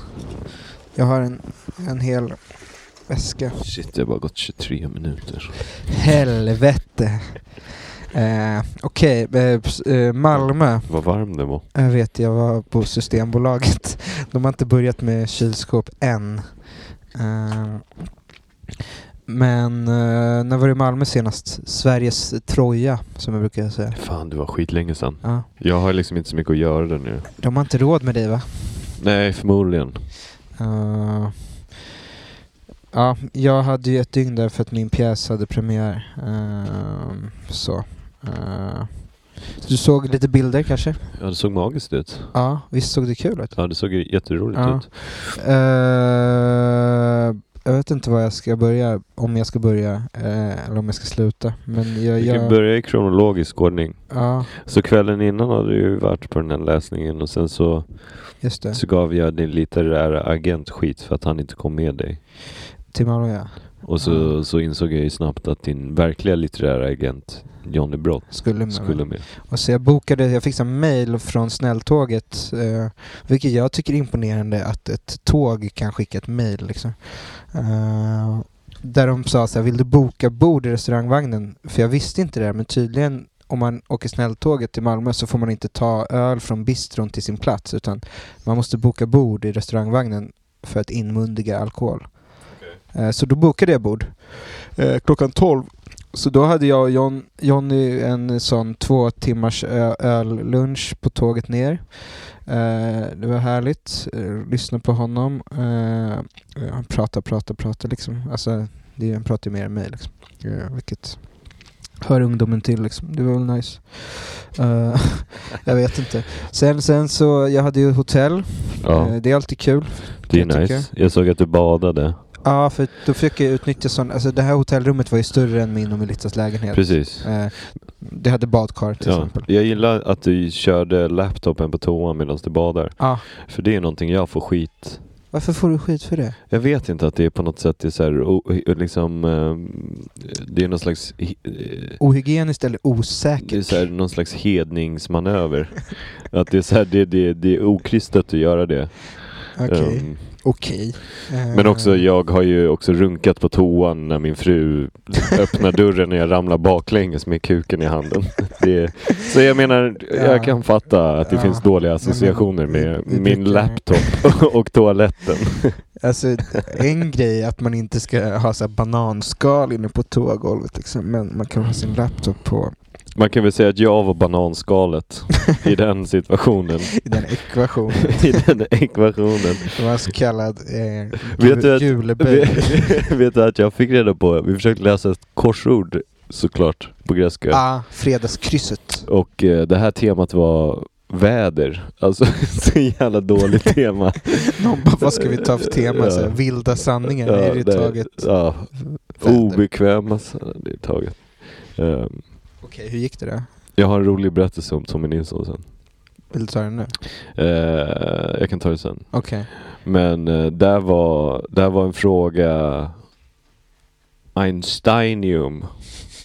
[SPEAKER 2] Jag har en, en hel väska.
[SPEAKER 1] Shit, det har bara gått 23 minuter.
[SPEAKER 2] Helvete. Eh, Okej, eh, ps- eh, Malmö
[SPEAKER 1] Vad varm det var.
[SPEAKER 2] eh, vet jag var på Systembolaget. De har inte börjat med kylskåp än. Eh, men eh, när var det i Malmö senast? Sveriges Troja, som jag brukar säga.
[SPEAKER 1] Fan, det var skitlänge sedan.
[SPEAKER 2] Ja.
[SPEAKER 1] Jag har liksom inte så mycket att göra där nu.
[SPEAKER 2] De har inte råd med dig va?
[SPEAKER 1] Nej, förmodligen.
[SPEAKER 2] Eh, ja, jag hade ju ett dygn där för att min pjäs hade premiär. Ehm, så. Eh, du såg lite bilder kanske?
[SPEAKER 1] Ja, det såg magiskt ut.
[SPEAKER 2] Ja, visst såg det kul ut?
[SPEAKER 1] Ja, det såg jätteroligt
[SPEAKER 2] Ja.
[SPEAKER 1] ut.
[SPEAKER 2] Eh, jag vet inte var jag ska börja, om jag ska börja eh, eller om jag ska sluta. Men jag...
[SPEAKER 1] Vi kan
[SPEAKER 2] jag
[SPEAKER 1] börja i kronologisk ordning.
[SPEAKER 2] ja,
[SPEAKER 1] Så kvällen innan hade du ju varit på den här läsningen och sen så,
[SPEAKER 2] just det.
[SPEAKER 1] så gav jag din litterära agent skit för att han inte kom med dig.
[SPEAKER 2] Till Malmö ja.
[SPEAKER 1] Och så,
[SPEAKER 2] Mm.
[SPEAKER 1] så insåg jag ju snabbt att din verkliga litterära agent, Johnny Brott,
[SPEAKER 2] Skulle med.
[SPEAKER 1] skulle med.
[SPEAKER 2] Och så Alltså, jag bokade, jag fick en mail från snälltåget. Eh, vilket jag tycker är imponerande att ett tåg kan skicka ett mail. Liksom. Eh, där de sa så här, vill du boka bord i restaurangvagnen? För jag visste inte det här, men tydligen om man åker snälltåget till Malmö så får man inte ta öl från bistron till sin plats utan man måste boka bord i restaurangvagnen för att inmundiga alkohol. Eh, Så då bokade jag bord eh, klockan 12 Så då hade jag och John, Johnny en sån två timmars ö- öllunch på tåget ner. Eh, det var härligt. Eh, lyssna på honom. Eh, ja, han pratar, pratar, pratar liksom. Alltså, det, han pratar ju mer än mig liksom. Eh, vilket hör ungdomen till liksom. Det var väl nice. Eh, jag vet inte. Sen, sen så, jag hade ju hotell.
[SPEAKER 1] Ja,
[SPEAKER 2] Eh, det är alltid kul.
[SPEAKER 1] det är
[SPEAKER 2] jag tycker-
[SPEAKER 1] nice. Jag såg att du badade.
[SPEAKER 2] Ja, för då fick jag utnyttja sån, alltså det här hotellrummet var ju större än min och Melissas lägenhet.
[SPEAKER 1] Precis.
[SPEAKER 2] Eh, det hade badkar till
[SPEAKER 1] Ja.
[SPEAKER 2] exempel.
[SPEAKER 1] Jag gillar att du körde laptopen på toan medan du badar.
[SPEAKER 2] Ja.
[SPEAKER 1] För det är någonting jag får skit.
[SPEAKER 2] Varför får du skit för det?
[SPEAKER 1] Jag vet inte att det är på något sätt det är så här, o- o- liksom, ehm, det är någon slags, hi- eh,
[SPEAKER 2] Ohygieniskt eller
[SPEAKER 1] det är
[SPEAKER 2] osäkert?
[SPEAKER 1] så här, någon slags hedningsmanöver. att det är så här, det, det, det är okristet att göra det.
[SPEAKER 2] Okej.
[SPEAKER 1] Ehm,
[SPEAKER 2] Okej.
[SPEAKER 1] Men
[SPEAKER 2] Eh,
[SPEAKER 1] också, jag har ju också runkat på toan när min fru öppnar dörren och jag ramlar baklänges med kuken i handen. Det är, så jag menar,
[SPEAKER 2] Ja.
[SPEAKER 1] jag kan fatta att det
[SPEAKER 2] Ja.
[SPEAKER 1] finns dåliga associationer med
[SPEAKER 2] vi- vi
[SPEAKER 1] min
[SPEAKER 2] brukar-
[SPEAKER 1] laptop och toaletten.
[SPEAKER 2] Alltså en grej är att man inte ska ha så här bananskal inne på toagolvet liksom, men man kan ha sin laptop på
[SPEAKER 1] Man kan väl säga att jag var bananskalet i den situationen.
[SPEAKER 2] i den ekvationen.
[SPEAKER 1] I den ekvationen.
[SPEAKER 2] Det var en så kallad eh,
[SPEAKER 1] Vet du
[SPEAKER 2] gu-
[SPEAKER 1] att-
[SPEAKER 2] guleböj.
[SPEAKER 1] Vet, vet du att jag fick reda på, vi försökte läsa ett korsord såklart på grekiska.
[SPEAKER 2] Ah, fredagskrysset.
[SPEAKER 1] Och eh, det här temat var väder. Alltså så jävla dåligt tema.
[SPEAKER 2] Någon bara, vad ska vi ta för tema? Så här,
[SPEAKER 1] Ja.
[SPEAKER 2] vilda sanningar, är det
[SPEAKER 1] det-
[SPEAKER 2] taget?
[SPEAKER 1] Ja,
[SPEAKER 2] Väder.
[SPEAKER 1] obekväma sanningar, det är taget. Ehm,
[SPEAKER 2] Okej, hur gick det då?
[SPEAKER 1] jag har en rolig berättelse om Tommy Nilsson sen.
[SPEAKER 2] Vill du ta den nu?
[SPEAKER 1] Eh, jag kan ta det sen.
[SPEAKER 2] Okej.
[SPEAKER 1] Men eh, där, var, där var en fråga Einsteinium.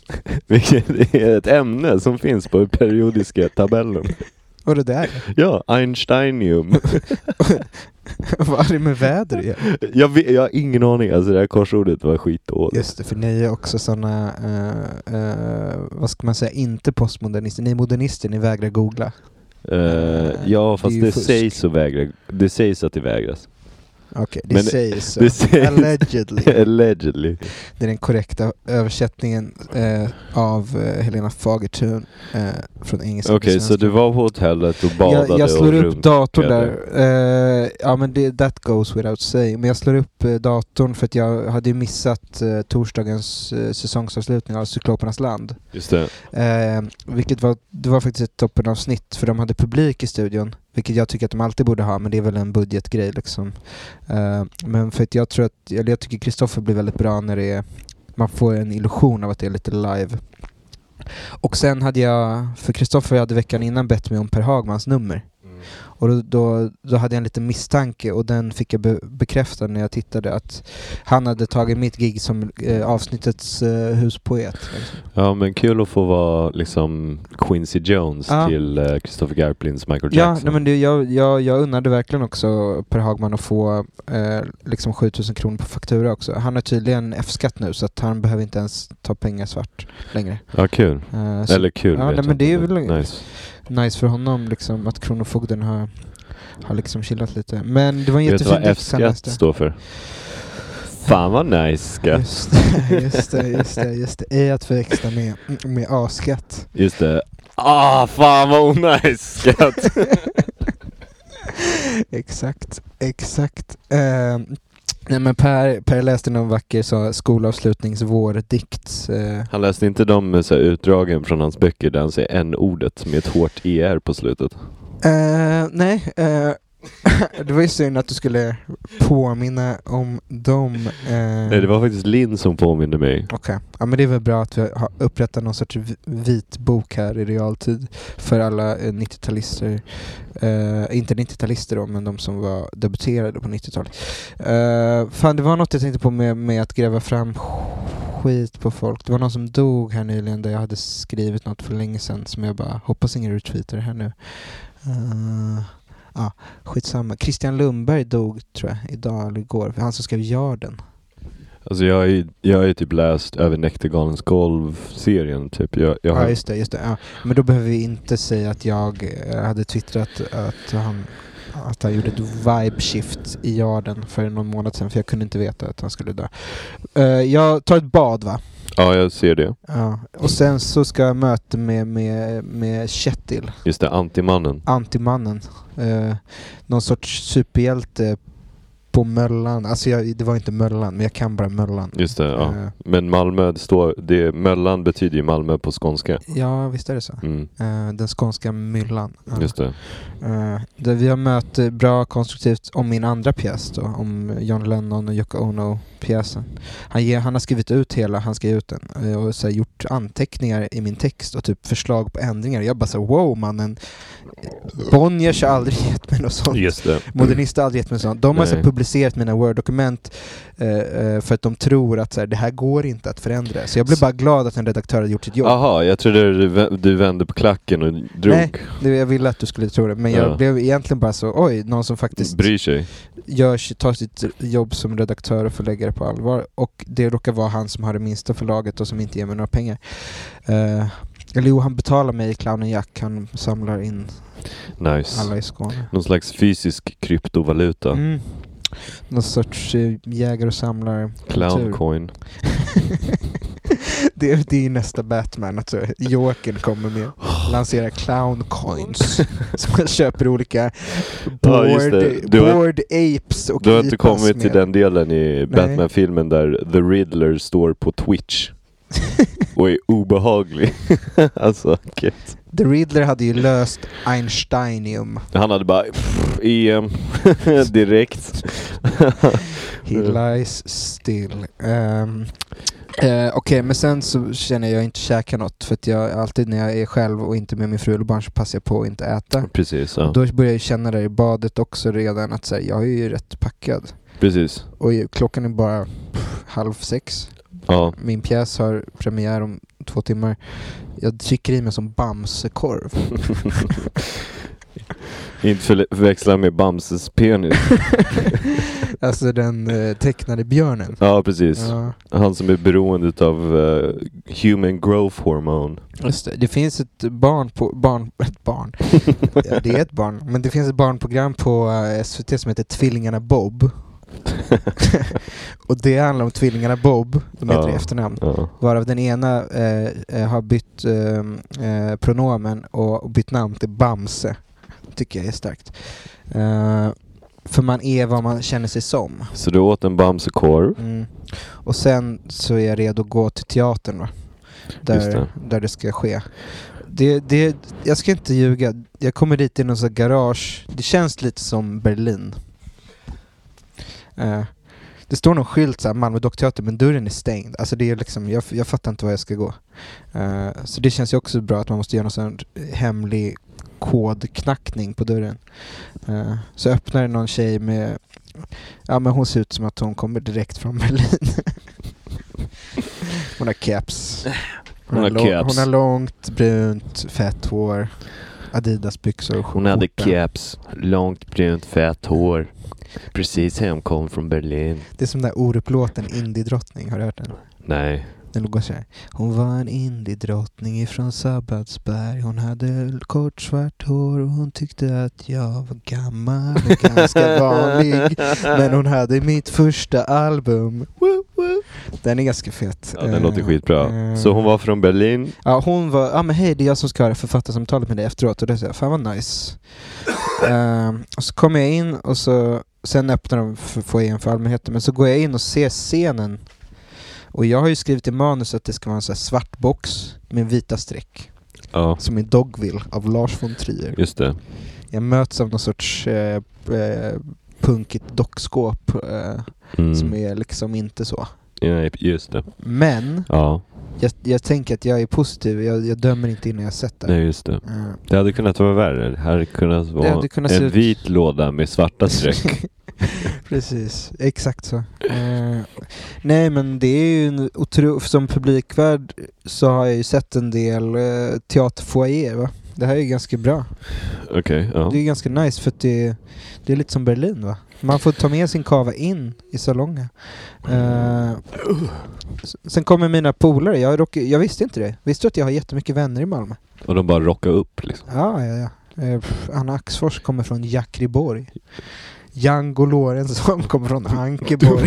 [SPEAKER 1] Vilket är ett ämne som finns på den periodiska tabellen.
[SPEAKER 2] Vad det där?
[SPEAKER 1] Ja, Einsteinium.
[SPEAKER 2] vad är det med väder att göra?
[SPEAKER 1] Jag, vet, jag har ingen aning. Alltså det här korsordet var skitdåligt.
[SPEAKER 2] Just det, för ni är också sådana, vad ska man säga, inte postmodernister. Ni är modernister, ni vägrar googla.
[SPEAKER 1] Eh, ja, fast
[SPEAKER 2] Det är
[SPEAKER 1] det,
[SPEAKER 2] ju fusk.
[SPEAKER 1] sägs att vägra. Det sägs att det vägras.
[SPEAKER 2] Okej, det
[SPEAKER 1] Men-
[SPEAKER 2] sägs så.
[SPEAKER 1] det sägs-
[SPEAKER 2] Allegedly.
[SPEAKER 1] Allegedly.
[SPEAKER 2] Det är den korrekta översättningen eh, av eh, Helena Fagertun eh, från engelska
[SPEAKER 1] Okej,
[SPEAKER 2] till
[SPEAKER 1] så
[SPEAKER 2] svenska.
[SPEAKER 1] du var på hotellet och badade
[SPEAKER 2] jag, jag slår
[SPEAKER 1] och
[SPEAKER 2] upp datorn
[SPEAKER 1] runkade.
[SPEAKER 2] där. Eh, ja men det, that goes without saying. Men jag slår upp eh, datorn för att jag hade ju missat eh, torsdagens eh, säsongsavslutning av Cyklopernas land.
[SPEAKER 1] Just det.
[SPEAKER 2] Eh, vilket var, det var faktiskt ett toppenavsnitt för de hade publik i studion. Vilket jag tycker att de alltid borde ha, men det är väl en budgetgrej liksom. Eh, men för att jag tror att, eller jag tycker Kristoffer blir väldigt bra när det är, man får en illusion av att det är lite live. Och sen hade jag, för Kristoffer hade veckan innan bett mig om Per Hagmans nummer. Och då, då, då hade jag en liten misstanke och den fick jag be- bekräftad när jag tittade att han hade tagit mitt gig som eh, avsnittets eh, huspoet. Liksom.
[SPEAKER 1] Ja, men kul att få vara liksom Quincy Jones
[SPEAKER 2] Ja.
[SPEAKER 1] till eh, Christopher Garplins Michael
[SPEAKER 2] Ja,
[SPEAKER 1] Jackson.
[SPEAKER 2] nej, men det, jag, jag, jag unnade verkligen också Per Hagman att få eh, liksom 7000 kronor på faktura också. Han har tydligen F-skatt nu så att han behöver inte ens ta pengar svart längre.
[SPEAKER 1] Ja, kul.
[SPEAKER 2] Eh, så
[SPEAKER 1] Eller kul
[SPEAKER 2] ja,
[SPEAKER 1] vet
[SPEAKER 2] nej,
[SPEAKER 1] jag
[SPEAKER 2] men det
[SPEAKER 1] inte,
[SPEAKER 2] är väl-
[SPEAKER 1] Nice.
[SPEAKER 2] Nice för honom liksom att Kronofogden har, har liksom chillat lite. Men det var en
[SPEAKER 1] Vet du vad
[SPEAKER 2] jättefin eh. dikt
[SPEAKER 1] F-skatt
[SPEAKER 2] han läste.
[SPEAKER 1] står för? Fan vad nice skatt.
[SPEAKER 2] Just det, just det, just det, just det. Ej att förväxla med, med A-skatt.
[SPEAKER 1] Just det. Ah, fan vad onajs skatt.
[SPEAKER 2] Exakt, exakt. Eh, nej men per, per läste någon vacker så, skolavslutningsvårdikt. Eh,
[SPEAKER 1] Han läste inte de eh, så här, utdragen från hans böcker där han säger n-ordet med ett hårt er på slutet. Mm.
[SPEAKER 2] Eh, nej, eh, det var ju synd att du skulle påminna om dem. eh.
[SPEAKER 1] Nej, det var faktiskt Linn som påminde mig.
[SPEAKER 2] Okej, ja, men det är väl bra att vi har upprättat någon sorts vi- vitbok här i realtid för alla eh, 90-talister. Eh, inte 90-talister då, men de som var debuterade på 90-talet. Eh, fan, det var något jag tänkte på med, med att gräva fram skit på folk. Det var någon som dog här nyligen där jag hade skrivit något för länge sedan som jag bara hoppas ingen retweetar det här nu. Eh, Ja, skitsamma. Christian Lundberg dog tror jag idag eller igår. Han som skrev Jarden.
[SPEAKER 1] Alltså jag har ju, jag har ju typ läst över Näktergalens golv-serien typ. Jag, jag har,
[SPEAKER 2] Ja, just det. Just det ja. Men då behöver vi inte säga att jag eh, hade twittrat att han att han gjorde ett vibe shift i yarden för någon månad sedan för jag kunde inte veta att han skulle dö. Eh, jag tar ett bad va?
[SPEAKER 1] Ja, jag ser det.
[SPEAKER 2] Ja. Och sen så ska jag möta med, med, med Kjetil,
[SPEAKER 1] Just det, antimannen.
[SPEAKER 2] antimannen. Eh, någon sorts superhjälte på Möllan. Alltså jag, det var inte Möllan, men jag kan bara Möllan.
[SPEAKER 1] Just det, ja.
[SPEAKER 2] Eh,
[SPEAKER 1] Men Malmö, det står, det, Möllan betyder ju Malmö på skånska.
[SPEAKER 2] ja, visst är det så.
[SPEAKER 1] Mm,
[SPEAKER 2] Eh, den skånska myllan. Ja.
[SPEAKER 1] just det.
[SPEAKER 2] Eh, där vi har mött bra konstruktivt om min andra pjäs då, om John Lennon och Yoko Ono-pjäsen. Han, ger- han har skrivit ut hela, han ska ge ut den, eh, och så här, gjort anteckningar i min text och typ förslag på ändringar. Jag bara så här, wow mannen, Bonniers har aldrig gett mig något sånt.
[SPEAKER 1] Just det.
[SPEAKER 2] Modernister har aldrig gett mig sånt. De har så här,
[SPEAKER 1] Nej.
[SPEAKER 2] publicerat mina Word-dokument eh, eh, för att de tror att så här, det här går inte att förändra. Så jag blev bara glad att en redaktör hade gjort sitt jobb.
[SPEAKER 1] Jaha, jag trodde du, vä- du vände på klacken och drog.
[SPEAKER 2] Nej, Nu, jag ville att du skulle tro det, men jag
[SPEAKER 1] Ja.
[SPEAKER 2] blev egentligen bara så oj, någon som faktiskt
[SPEAKER 1] Bryr sig.
[SPEAKER 2] gör, sitt- tar sitt jobb som redaktör och förläggare på allvar. Och det råkar vara han som har det minsta förlaget och som inte ger mig några pengar. Eh, eller jo, han betalar mig i Clownen Jack, han samlar in
[SPEAKER 1] Nice.
[SPEAKER 2] alla i Skåne.
[SPEAKER 1] Någon slags fysisk kryptovaluta.
[SPEAKER 2] Mm. Någon sorts eh, jägare och samlar
[SPEAKER 1] Clown coin.
[SPEAKER 2] det, är- det är ju nästa Batman, att så Jokern kommer med lansera clown coins. som man köper olika
[SPEAKER 1] Ja, just
[SPEAKER 2] board,
[SPEAKER 1] det. Du har-
[SPEAKER 2] board apes och
[SPEAKER 1] Du har inte
[SPEAKER 2] IPAs
[SPEAKER 1] kommit till
[SPEAKER 2] med.
[SPEAKER 1] den delen i Batman-filmen där The Riddler står på Twitch och är obehaglig. alltså, okej.
[SPEAKER 2] The Riddler hade ju löst um, Einsteinium.
[SPEAKER 1] Han hade bara pff, EM direkt.
[SPEAKER 2] He
[SPEAKER 1] Mm.
[SPEAKER 2] lies still. Um, eh, Okej, men sen så känner jag inte käka något för att jag alltid när jag är själv och inte med min fru eller barn så passar jag på att inte äta.
[SPEAKER 1] Precis, ja.
[SPEAKER 2] Då börjar jag ju känna det i badet också redan att så här, jag är ju rätt packad.
[SPEAKER 1] Precis.
[SPEAKER 2] Och ju- klockan är bara pff, halv sex.
[SPEAKER 1] Ja.
[SPEAKER 2] Min pjäs har premiär om två timmar. Jag trycker i mig som bamsekorv.
[SPEAKER 1] inte förväxla med Bamses penis.
[SPEAKER 2] alltså den eh, tecknade björnen.
[SPEAKER 1] Ja, precis.
[SPEAKER 2] Ja.
[SPEAKER 1] Han som är beroende av eh, human growth hormone.
[SPEAKER 2] Just det. det finns ett barn på, barn, ett barn, ja, det är ett barn, men det finns ett barnprogram på eh, SVT som heter Tvillingarna Bob. och det handlar om tvillingarna Bob, de heter det i
[SPEAKER 1] Ja.
[SPEAKER 2] efternamn,
[SPEAKER 1] Ja.
[SPEAKER 2] varav den ena eh, eh, har bytt eh, eh, pronomen och, och bytt namn till Bamse. Tycker jag är starkt. Eh, för man är vad man känner sig som.
[SPEAKER 1] Så du åt en Bamsekorv.
[SPEAKER 2] Mm. Och sen så är jag redo att gå till teatern va? Där
[SPEAKER 1] Just
[SPEAKER 2] det.
[SPEAKER 1] det.
[SPEAKER 2] där det ska ske. Det, det, jag ska inte ljuga, jag kommer dit i någon sån här garage. Det känns lite som Berlin. Eh, det står någon skylt såhär, Malmö dockteater, men dörren är stängd. Alltså det är liksom, jag, jag fattar inte var jag ska gå. Eh, så det känns ju också bra att man måste göra någon sån hemlig kodknackning på dörren. Eh, så öppnar det någon tjej med Ja men hon ser ut som att hon kommer direkt från Berlin. hon har caps.
[SPEAKER 1] Hon har
[SPEAKER 2] lång-
[SPEAKER 1] caps.
[SPEAKER 2] hon har långt, brunt, fett hår. Adidas byxor och
[SPEAKER 1] Hon hade
[SPEAKER 2] skjorta.
[SPEAKER 1] caps, långt brunt fett hår. Precis hemkom från Berlin.
[SPEAKER 2] Det är som den där Orup-låten Indiedrottning, har du hört den?
[SPEAKER 1] Nej.
[SPEAKER 2] Den låg så här. Hon var en indiedrottning ifrån Sabbatsberg. Hon hade kort svart hår och hon tyckte att jag var gammal och ganska vanlig. Men hon hade mitt första album. Den är ganska fet.
[SPEAKER 1] Ja, den
[SPEAKER 2] Eh,
[SPEAKER 1] låter skitbra.
[SPEAKER 2] eh,
[SPEAKER 1] Så hon var från Berlin.
[SPEAKER 2] Ja, hon var, ja men hej det är jag som ska ha det här författarsamtalet med dig efteråt och det sa jag, fan vad nice. Ehm, och så kommer jag in och så, sen öppnar de för- foajén för allmänheten, men så går jag in och ser scenen. Och jag har ju skrivit i manus att det ska vara en sån här svart box med vita streck.
[SPEAKER 1] Ja,
[SPEAKER 2] Som i Dogville av Lars von Trier.
[SPEAKER 1] just det.
[SPEAKER 2] Jag möts av någon sorts eh, eh, punkigt dockskåp eh, som
[SPEAKER 1] Mm.
[SPEAKER 2] är liksom inte så.
[SPEAKER 1] Ja, just det.
[SPEAKER 2] Men
[SPEAKER 1] Ja,
[SPEAKER 2] jag, jag tänker att jag är positiv, jag, jag dömer inte innan jag sett det.
[SPEAKER 1] nej just det.
[SPEAKER 2] Ehm,
[SPEAKER 1] Det hade kunnat vara värre. Det hade kunnat vara
[SPEAKER 2] hade kunnat se
[SPEAKER 1] en
[SPEAKER 2] ut-
[SPEAKER 1] vit låda med svarta streck.
[SPEAKER 2] Precis, exakt så. Eh, nej men det är ju en otro... Som publikvärd så har jag ju sett en del eh, teaterfoajéer va? Det här är ju ganska bra.
[SPEAKER 1] Okej, ja.
[SPEAKER 2] Det är ganska nice för att det, det är lite som Berlin va? Man får ta med sin kava in i salongen. Eh, s- sen kommer mina polare, jag, råkar- jag visste inte det. Visste du att jag har jättemycket vänner i Malmö?
[SPEAKER 1] Och de bara rockade upp liksom.
[SPEAKER 2] Ja, ja, ja. Eh, pff, Anna Axfors kommer från Jakriborg. Django Lorentzon kommer från Ankeborg.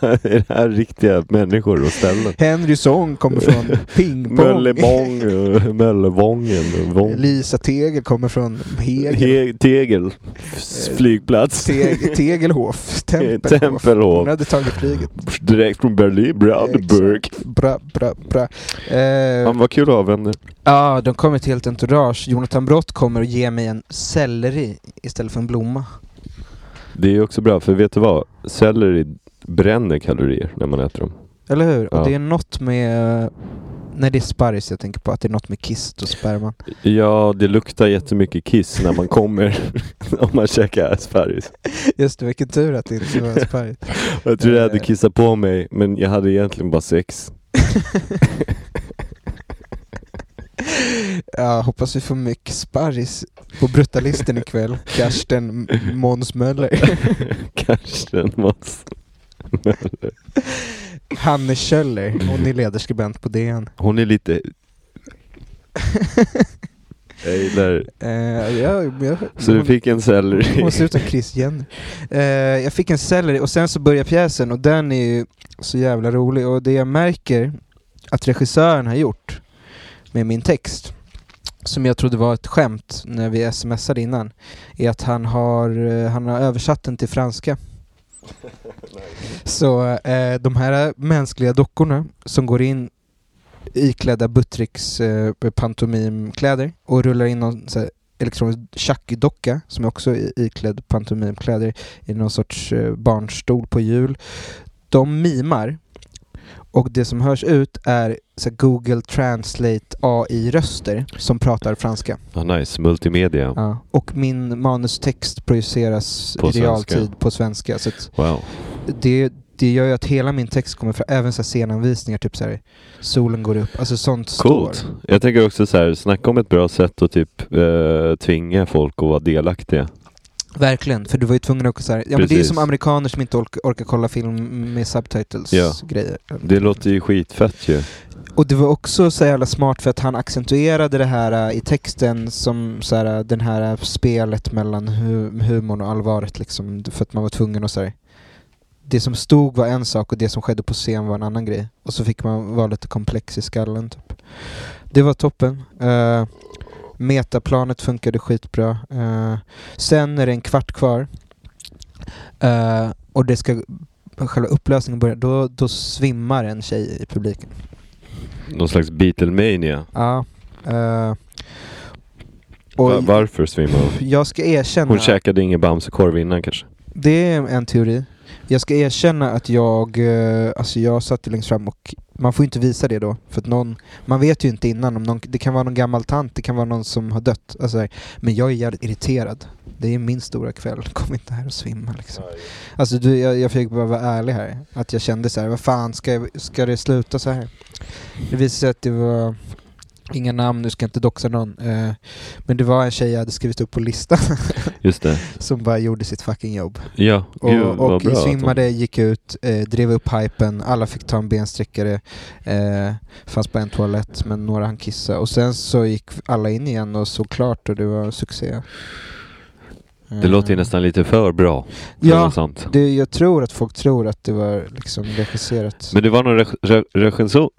[SPEAKER 1] är det här riktiga människor och ställen?
[SPEAKER 2] Henry Song kommer från Pingpong.
[SPEAKER 1] Möllevång, eh, Möllevången, Vång.
[SPEAKER 2] Lisa Tegel kommer från Hegel.
[SPEAKER 1] He- Tegel, S- flygplats.
[SPEAKER 2] Te- Tegelhof. Tempelhof.
[SPEAKER 1] Tempelhof.
[SPEAKER 2] Hon hade tagit flyget.
[SPEAKER 1] Direkt från Berlin, Brandenburg.
[SPEAKER 2] Bra, bra, bra. Eh,
[SPEAKER 1] Ja, men vad kul att ha vänner.
[SPEAKER 2] Ja, de kommer till helt entourage. Jonathan Brott kommer och ger mig en selleri istället för en blomma.
[SPEAKER 1] Det är ju också bra, för vet du vad? Selleri bränner kalorier när man äter dem.
[SPEAKER 2] Eller hur?
[SPEAKER 1] Ja.
[SPEAKER 2] Och det är något med... eh, Nej, det är sparris jag tänker på. Att det är något med kist och sperman.
[SPEAKER 1] Ja, det luktar jättemycket kiss när man kommer om man käkar asparris.
[SPEAKER 2] Just det, vilken tur att det inte var sparris.
[SPEAKER 1] Jag tror jag hade kissat på mig, men jag hade egentligen bara sex.
[SPEAKER 2] ja, hoppas vi får mycket sparris på brutalisten ikväll. Karsten M- Måns Möller.
[SPEAKER 1] Karsten Måns.
[SPEAKER 2] Hanne Kjöller. Hon är ledarskribent på DN.
[SPEAKER 1] Hon är lite... Jag gillar...
[SPEAKER 2] Eh, ja, jag,
[SPEAKER 1] Så du
[SPEAKER 2] hon-
[SPEAKER 1] fick en selleri.
[SPEAKER 2] Hon ser ut som Chris Jenner. Eh, jag fick en selleri och sen så börjar pjäsen och den är ju så jävla rolig och det jag märker att regissören har gjort med min text som jag trodde var ett skämt när vi smsade innan är att han har, eh, han har översatt den till franska. Så eh, de här mänskliga dockorna som går in iklädda Buttricks eh, pantomimkläder och rullar in någon så här, elektronisk tjackdocka som är också i- iklädd pantomimkläder i någon sorts eh, barnstol på hjul. De mimar och det som hörs ut är så här, Google Translate AI-röster som pratar franska.
[SPEAKER 1] Ah, nice, multimedia.
[SPEAKER 2] Ja. Och min manustext projiceras
[SPEAKER 1] På
[SPEAKER 2] i realtid
[SPEAKER 1] svenska.
[SPEAKER 2] på svenska. Så att
[SPEAKER 1] Wow.
[SPEAKER 2] det, det gör ju att hela min text kommer fram, även så här scenanvisningar, typ så här, solen går upp, alltså sånt
[SPEAKER 1] Coolt.
[SPEAKER 2] står.
[SPEAKER 1] Jag tänker också så här, snacka om ett bra sätt att typ eh, tvinga folk att vara delaktiga.
[SPEAKER 2] Verkligen, för du var ju tvungen att åka så här. Ja, men det är ju
[SPEAKER 1] Precis.
[SPEAKER 2] som amerikaner som inte orkar, orkar kolla film med subtitles
[SPEAKER 1] Ja.
[SPEAKER 2] grejer.
[SPEAKER 1] Det låter ju skitfett ju.
[SPEAKER 2] Och det var också så jävla smart för att han accentuerade det här äh, i texten som så här, äh, den här äh, spelet mellan hu- humorn och allvaret liksom, för att man var tvungen att så här, det som stod var en sak och det som skedde på scen var en annan grej. Och så fick man vara lite komplex i skallen typ. Det var toppen. Eh, metaplanet funkade skitbra. Eh, sen är det en kvart kvar. Eh, och det ska själva upplösningen börjar. Då, då svimmar en tjej i publiken.
[SPEAKER 1] Någon slags Beatlemania.
[SPEAKER 2] Ja. eh, och
[SPEAKER 1] Va- varför svimmar hon?
[SPEAKER 2] jag ska erkänna...
[SPEAKER 1] Hon käkade ingen Bamsekorv innan kanske?
[SPEAKER 2] Det är en teori. Jag ska erkänna att jag, eh, alltså jag satt ju längst fram och man får ju inte visa det då. För att någon, man vet ju inte innan. Om någon, det kan vara någon gammal tant, det kan vara någon som har dött. Alltså, här. men jag är jävligt irriterad. Det är min stora kväll. Kom inte här och svimma liksom. Alltså du, jag, jag fick bara vara ärlig här. Att jag kände så här, vad fan ska, jag, ska det sluta så här? Det visade sig att det var, inga namn, nu ska jag inte doxa någon. eh, men det var en tjej jag hade skrivit upp på listan
[SPEAKER 1] Just det.
[SPEAKER 2] som bara gjorde sitt fucking jobb.
[SPEAKER 1] Ja,
[SPEAKER 2] Och,
[SPEAKER 1] gud vad
[SPEAKER 2] och
[SPEAKER 1] bra. att hon-
[SPEAKER 2] svimmade, gick ut, eh, drev upp hypen, alla fick ta en bensträckare. Eh, fanns bara en toalett men några hann kissa. Och sen så gick alla in igen och såg klart och det var succé.
[SPEAKER 1] Det
[SPEAKER 2] Eh,
[SPEAKER 1] låter ju nästan lite för bra. för att vara
[SPEAKER 2] Ja,
[SPEAKER 1] Sant.
[SPEAKER 2] det, jag tror att folk tror att det var liksom regisserat.
[SPEAKER 1] Men det var någon reg- reg- regissör,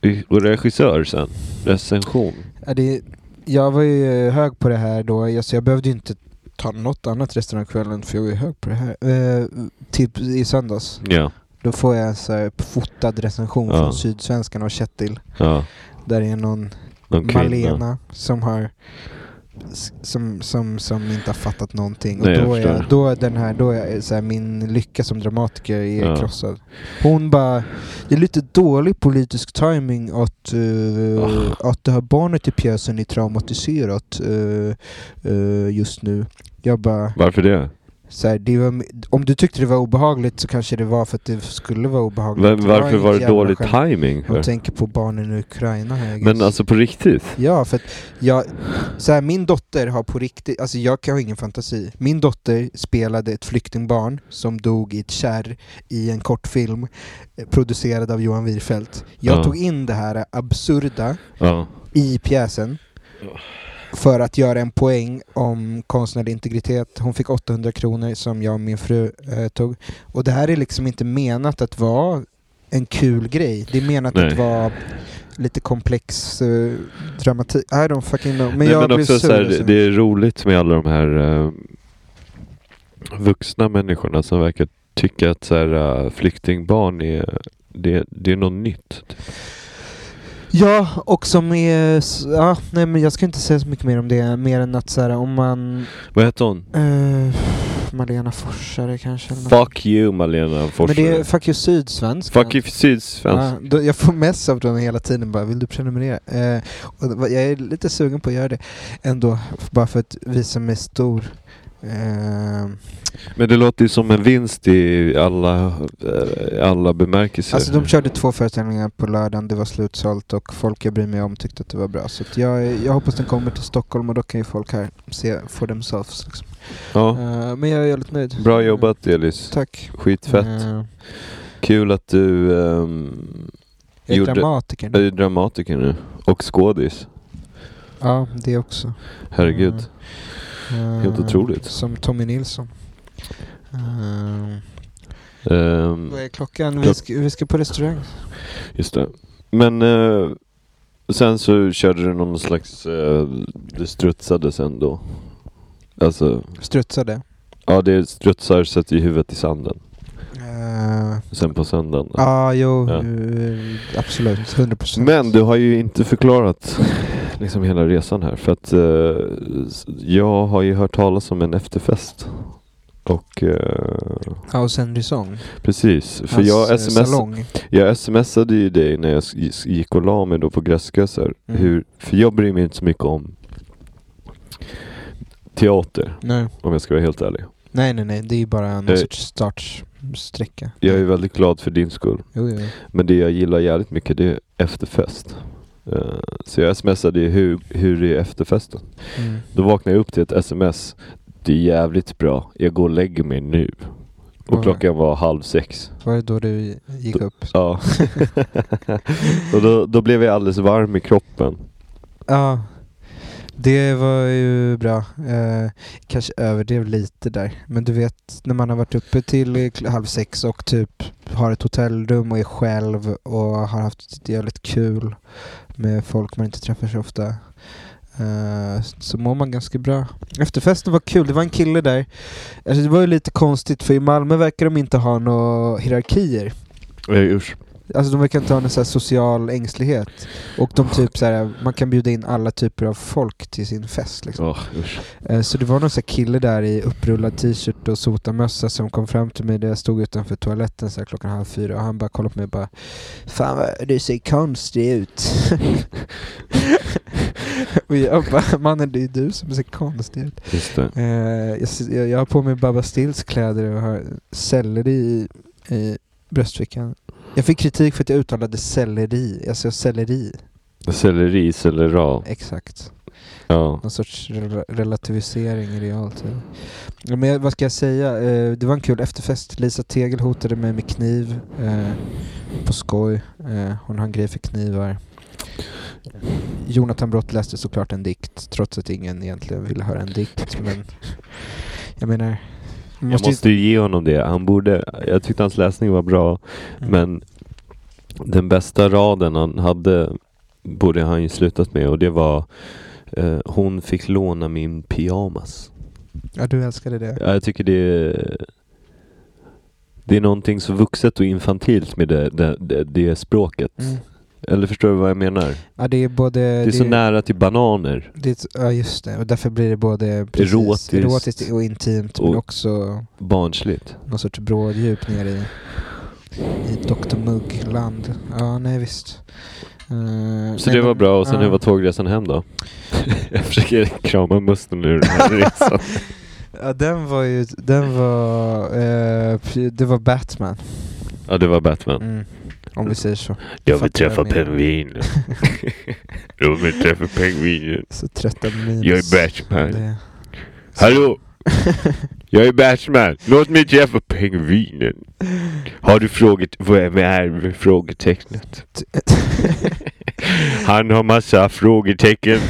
[SPEAKER 1] reg- regissör sen? Recension?
[SPEAKER 2] Ja, det, jag var ju hög på det här då, jag- så jag behövde ju inte ta något annat resten av kvällen för jag var ju hög på det här. Eh, typ i söndags,
[SPEAKER 1] Ja.
[SPEAKER 2] då får jag en så här fotad recension
[SPEAKER 1] Ja.
[SPEAKER 2] från Sydsvenskan och Kjetil.
[SPEAKER 1] ja.
[SPEAKER 2] Där är någon
[SPEAKER 1] Någon kvinna.
[SPEAKER 2] Malena som har s- som, som, som inte har fattat någonting.
[SPEAKER 1] Nej,
[SPEAKER 2] och
[SPEAKER 1] jag
[SPEAKER 2] då, är jag,
[SPEAKER 1] förstår.
[SPEAKER 2] då är den här, då är jag, så här, min lycka som dramatiker är
[SPEAKER 1] Ja.
[SPEAKER 2] krossad. Hon bara, det är lite dålig politisk timing att, eh,
[SPEAKER 1] Ah.
[SPEAKER 2] att det här barnet i pjäsen är traumatiserat eh, eh, just nu. Jag bara,
[SPEAKER 1] Varför det?
[SPEAKER 2] så här, det var, om du tyckte det var obehagligt så kanske det var för att det skulle vara obehagligt.
[SPEAKER 1] Va-
[SPEAKER 2] Det
[SPEAKER 1] varför
[SPEAKER 2] inget
[SPEAKER 1] var det
[SPEAKER 2] jävla
[SPEAKER 1] dålig
[SPEAKER 2] skämt.
[SPEAKER 1] timing?
[SPEAKER 2] Hon
[SPEAKER 1] För?
[SPEAKER 2] tänker på barnen i Ukraina här. I guess.
[SPEAKER 1] Men alltså på riktigt?
[SPEAKER 2] Ja, för att jag, så här, min dotter har på riktigt, alltså jag kan ha ingen fantasi. Min dotter spelade ett flyktingbarn som dog i ett kärr i en kortfilm eh, producerad av Johan Wirfelt. Jag
[SPEAKER 1] Ja.
[SPEAKER 2] tog in det här absurda
[SPEAKER 1] Ja.
[SPEAKER 2] i pjäsen. för att göra en poäng om konstnärlig integritet. Hon fick 800 kronor som jag och min fru eh, tog. Och det här är liksom inte menat att vara en kul grej. Det är menat
[SPEAKER 1] Nej.
[SPEAKER 2] att vara lite komplex eh, dramatik. I don't fucking know. Men
[SPEAKER 1] Men, Nej,
[SPEAKER 2] jag
[SPEAKER 1] men
[SPEAKER 2] blev
[SPEAKER 1] också
[SPEAKER 2] sur.
[SPEAKER 1] så här,
[SPEAKER 2] alltså.
[SPEAKER 1] det är roligt med alla de här eh, vuxna människorna som verkar tycka att så här, eh, flyktingbarn är, det, det är något nytt.
[SPEAKER 2] Ja, och som är... s- Ja, nej men jag ska inte säga så mycket mer om det. Mer än att så här, om man...
[SPEAKER 1] Vad heter hon?
[SPEAKER 2] eh, Malena Forsare kanske? eller något.
[SPEAKER 1] Fuck you Malena
[SPEAKER 2] Men det är
[SPEAKER 1] Forsberg.
[SPEAKER 2] Fuck you Sydsvenskan.
[SPEAKER 1] Fuck you Sydsvensk.
[SPEAKER 2] Ja, då, jag får mess av dem hela tiden bara, vill du prenumerera? Eh, och det var- jag är lite sugen på att göra det ändå, f- bara för att visa mig stor. Eh,
[SPEAKER 1] Men det låter ju som en vinst i alla, eh, alla bemärkelser.
[SPEAKER 2] alltså de körde två föreställningar på lördagen, det var slutsålt och folk jag bryr mig om tyckte att det var bra. Så att jag, jag hoppas den kommer till Stockholm och då kan ju folk här se for themselves. Liksom.
[SPEAKER 1] ja.
[SPEAKER 2] Eh, men jag är väldigt nöjd. Eh,
[SPEAKER 1] Bra jobbat Elis.
[SPEAKER 2] Tack.
[SPEAKER 1] Skitfett.
[SPEAKER 2] Eh,
[SPEAKER 1] Kul att du ehm,
[SPEAKER 2] jag är
[SPEAKER 1] Gjorde-
[SPEAKER 2] dramatiker
[SPEAKER 1] är
[SPEAKER 2] nu.
[SPEAKER 1] dramatiker nu. Och skådis.
[SPEAKER 2] Ja, det också.
[SPEAKER 1] Herregud.
[SPEAKER 2] Mm. Eh,
[SPEAKER 1] Helt otroligt.
[SPEAKER 2] Som Tommy Nilsson. Eh,
[SPEAKER 1] Ehm,
[SPEAKER 2] Vad är klockan? Vi
[SPEAKER 1] Klock-
[SPEAKER 2] ska, vi ska på restaurang.
[SPEAKER 1] Just det. Men eh, sen så körde du någon slags... Eh, det strutsade sen då. Alltså,
[SPEAKER 2] Strutsade.
[SPEAKER 1] ja det strutsar sätter ju huvudet i sanden.
[SPEAKER 2] Eh,
[SPEAKER 1] Sen på söndagen.
[SPEAKER 2] Ja, ah, jo,
[SPEAKER 1] Ja.
[SPEAKER 2] eh, absolut. 100 procent.
[SPEAKER 1] Men du har ju inte förklarat liksom hela resan här. För att eh, s- jag har ju hört talas om en efterfest. Och eh,
[SPEAKER 2] House Henry Song.
[SPEAKER 1] precis, för
[SPEAKER 2] Hans, eh,
[SPEAKER 1] jag, sms,
[SPEAKER 2] salong.
[SPEAKER 1] jag smsade ju dig när jag s- s- gick och la mig då på Gräskösar.
[SPEAKER 2] Mm.
[SPEAKER 1] Hur, för jag bryr mig inte så mycket om teater,
[SPEAKER 2] Nej.
[SPEAKER 1] om jag ska vara helt ärlig.
[SPEAKER 2] nej, nej, nej. Det är ju bara någon
[SPEAKER 1] Eh.
[SPEAKER 2] sorts startsträcka.
[SPEAKER 1] Jag är väldigt glad för din skull.
[SPEAKER 2] Jo, jo.
[SPEAKER 1] Men det jag gillar jävligt mycket det är efterfest. Eh, så jag smsade ju hur, hur är efterfesten?
[SPEAKER 2] Mm.
[SPEAKER 1] Då vaknar jag upp till ett sms. Det är jävligt bra. Jag går och lägger mig nu.
[SPEAKER 2] Vad-
[SPEAKER 1] Och klockan var halv sex.
[SPEAKER 2] Var det då du gick upp?
[SPEAKER 1] Ja. och då, då blev jag alldeles varm i kroppen.
[SPEAKER 2] Ja, det var ju bra. Eh, kanske överdrev lite där. Men du vet, när man har varit uppe till eh, kl- halv sex och typ har ett hotellrum och är själv och har haft ett jävligt kul med folk man inte träffar så ofta. eh, Så mår man ganska bra. Efterfesten var kul, det var en kille där. Alltså det var ju lite konstigt för i Malmö verkar de inte ha några hierarkier.
[SPEAKER 1] Nej usch.
[SPEAKER 2] Alltså de verkar inte ha någon så här social ängslighet. Och de typ så här, man kan bjuda in alla typer av folk till sin fest liksom.
[SPEAKER 1] Ja, usch.
[SPEAKER 2] Eh, Så det var någon så här kille där i upprullad t-shirt och sotarmössa som kom fram till mig där jag stod utanför toaletten så här klockan halv fyra och han bara kollade på mig och bara Fan vad du ser konstig ut. och jag bara mannen det är du som ser konstig ut.
[SPEAKER 1] Just det.
[SPEAKER 2] Eh, jag, s- jag, jag har på mig Baba Stills kläder och har selleri i, i bröstfickan. Jag fick kritik för att jag uttalade selleri. Alltså selleri,
[SPEAKER 1] Selleri, sellera.
[SPEAKER 2] exakt.
[SPEAKER 1] Ja.
[SPEAKER 2] Någon sorts rela- relativisering i realtid. Ja, Men jag- vad ska jag säga? Eh, det var en kul efterfest. Lisa Tegel hotade mig med kniv eh, på skoj. Eh, hon har en grej för knivar. Jonathan Brott läste såklart en dikt trots att ingen egentligen ville höra en dikt. Men jag menar... man
[SPEAKER 1] Jag
[SPEAKER 2] måste ju-
[SPEAKER 1] måste ju ge honom det. Han borde, jag tyckte hans läsning var bra.
[SPEAKER 2] Mm.
[SPEAKER 1] Men den bästa raden han hade borde han ju slutat med och det var eh, Hon fick låna min pyjamas.
[SPEAKER 2] Ja, du älskade det.
[SPEAKER 1] Ja, jag tycker det är, det är någonting så vuxet och infantilt med det, det, det, det språket.
[SPEAKER 2] Mm.
[SPEAKER 1] Eller förstår du vad jag menar?
[SPEAKER 2] Ja, det är både...
[SPEAKER 1] Det är så nära till bananer.
[SPEAKER 2] det är- ja, just det. Och därför blir det både precis,
[SPEAKER 1] Erotiskt.
[SPEAKER 2] erotiskt och intimt men
[SPEAKER 1] Och-
[SPEAKER 2] också
[SPEAKER 1] Barnsligt.
[SPEAKER 2] någon sorts bråddjup nere i, i Dr. Mugg-land. Ja, nej visst. Eh,
[SPEAKER 1] Så
[SPEAKER 2] nej,
[SPEAKER 1] det var
[SPEAKER 2] men-
[SPEAKER 1] bra och sen
[SPEAKER 2] ja.
[SPEAKER 1] hur var tågresan hem då? jag försöker krama musten ur den här resan.
[SPEAKER 2] Ja, den var ju... Den var... eh, p- det var Batman.
[SPEAKER 1] Ja det var Batman.
[SPEAKER 2] Mm. Om vi säger så.
[SPEAKER 1] Jag vill
[SPEAKER 2] Fattar
[SPEAKER 1] träffa
[SPEAKER 2] jag menar.
[SPEAKER 1] pingviner. Jag vill träffa pingviner.
[SPEAKER 2] Så trötta minus.
[SPEAKER 1] Jag är Batman.
[SPEAKER 2] Det-
[SPEAKER 1] Hallå! Jag är Batman. Låt mig träffa pingvinen. Har du frågat vem är med frågetecknet? Han har massa frågetecken.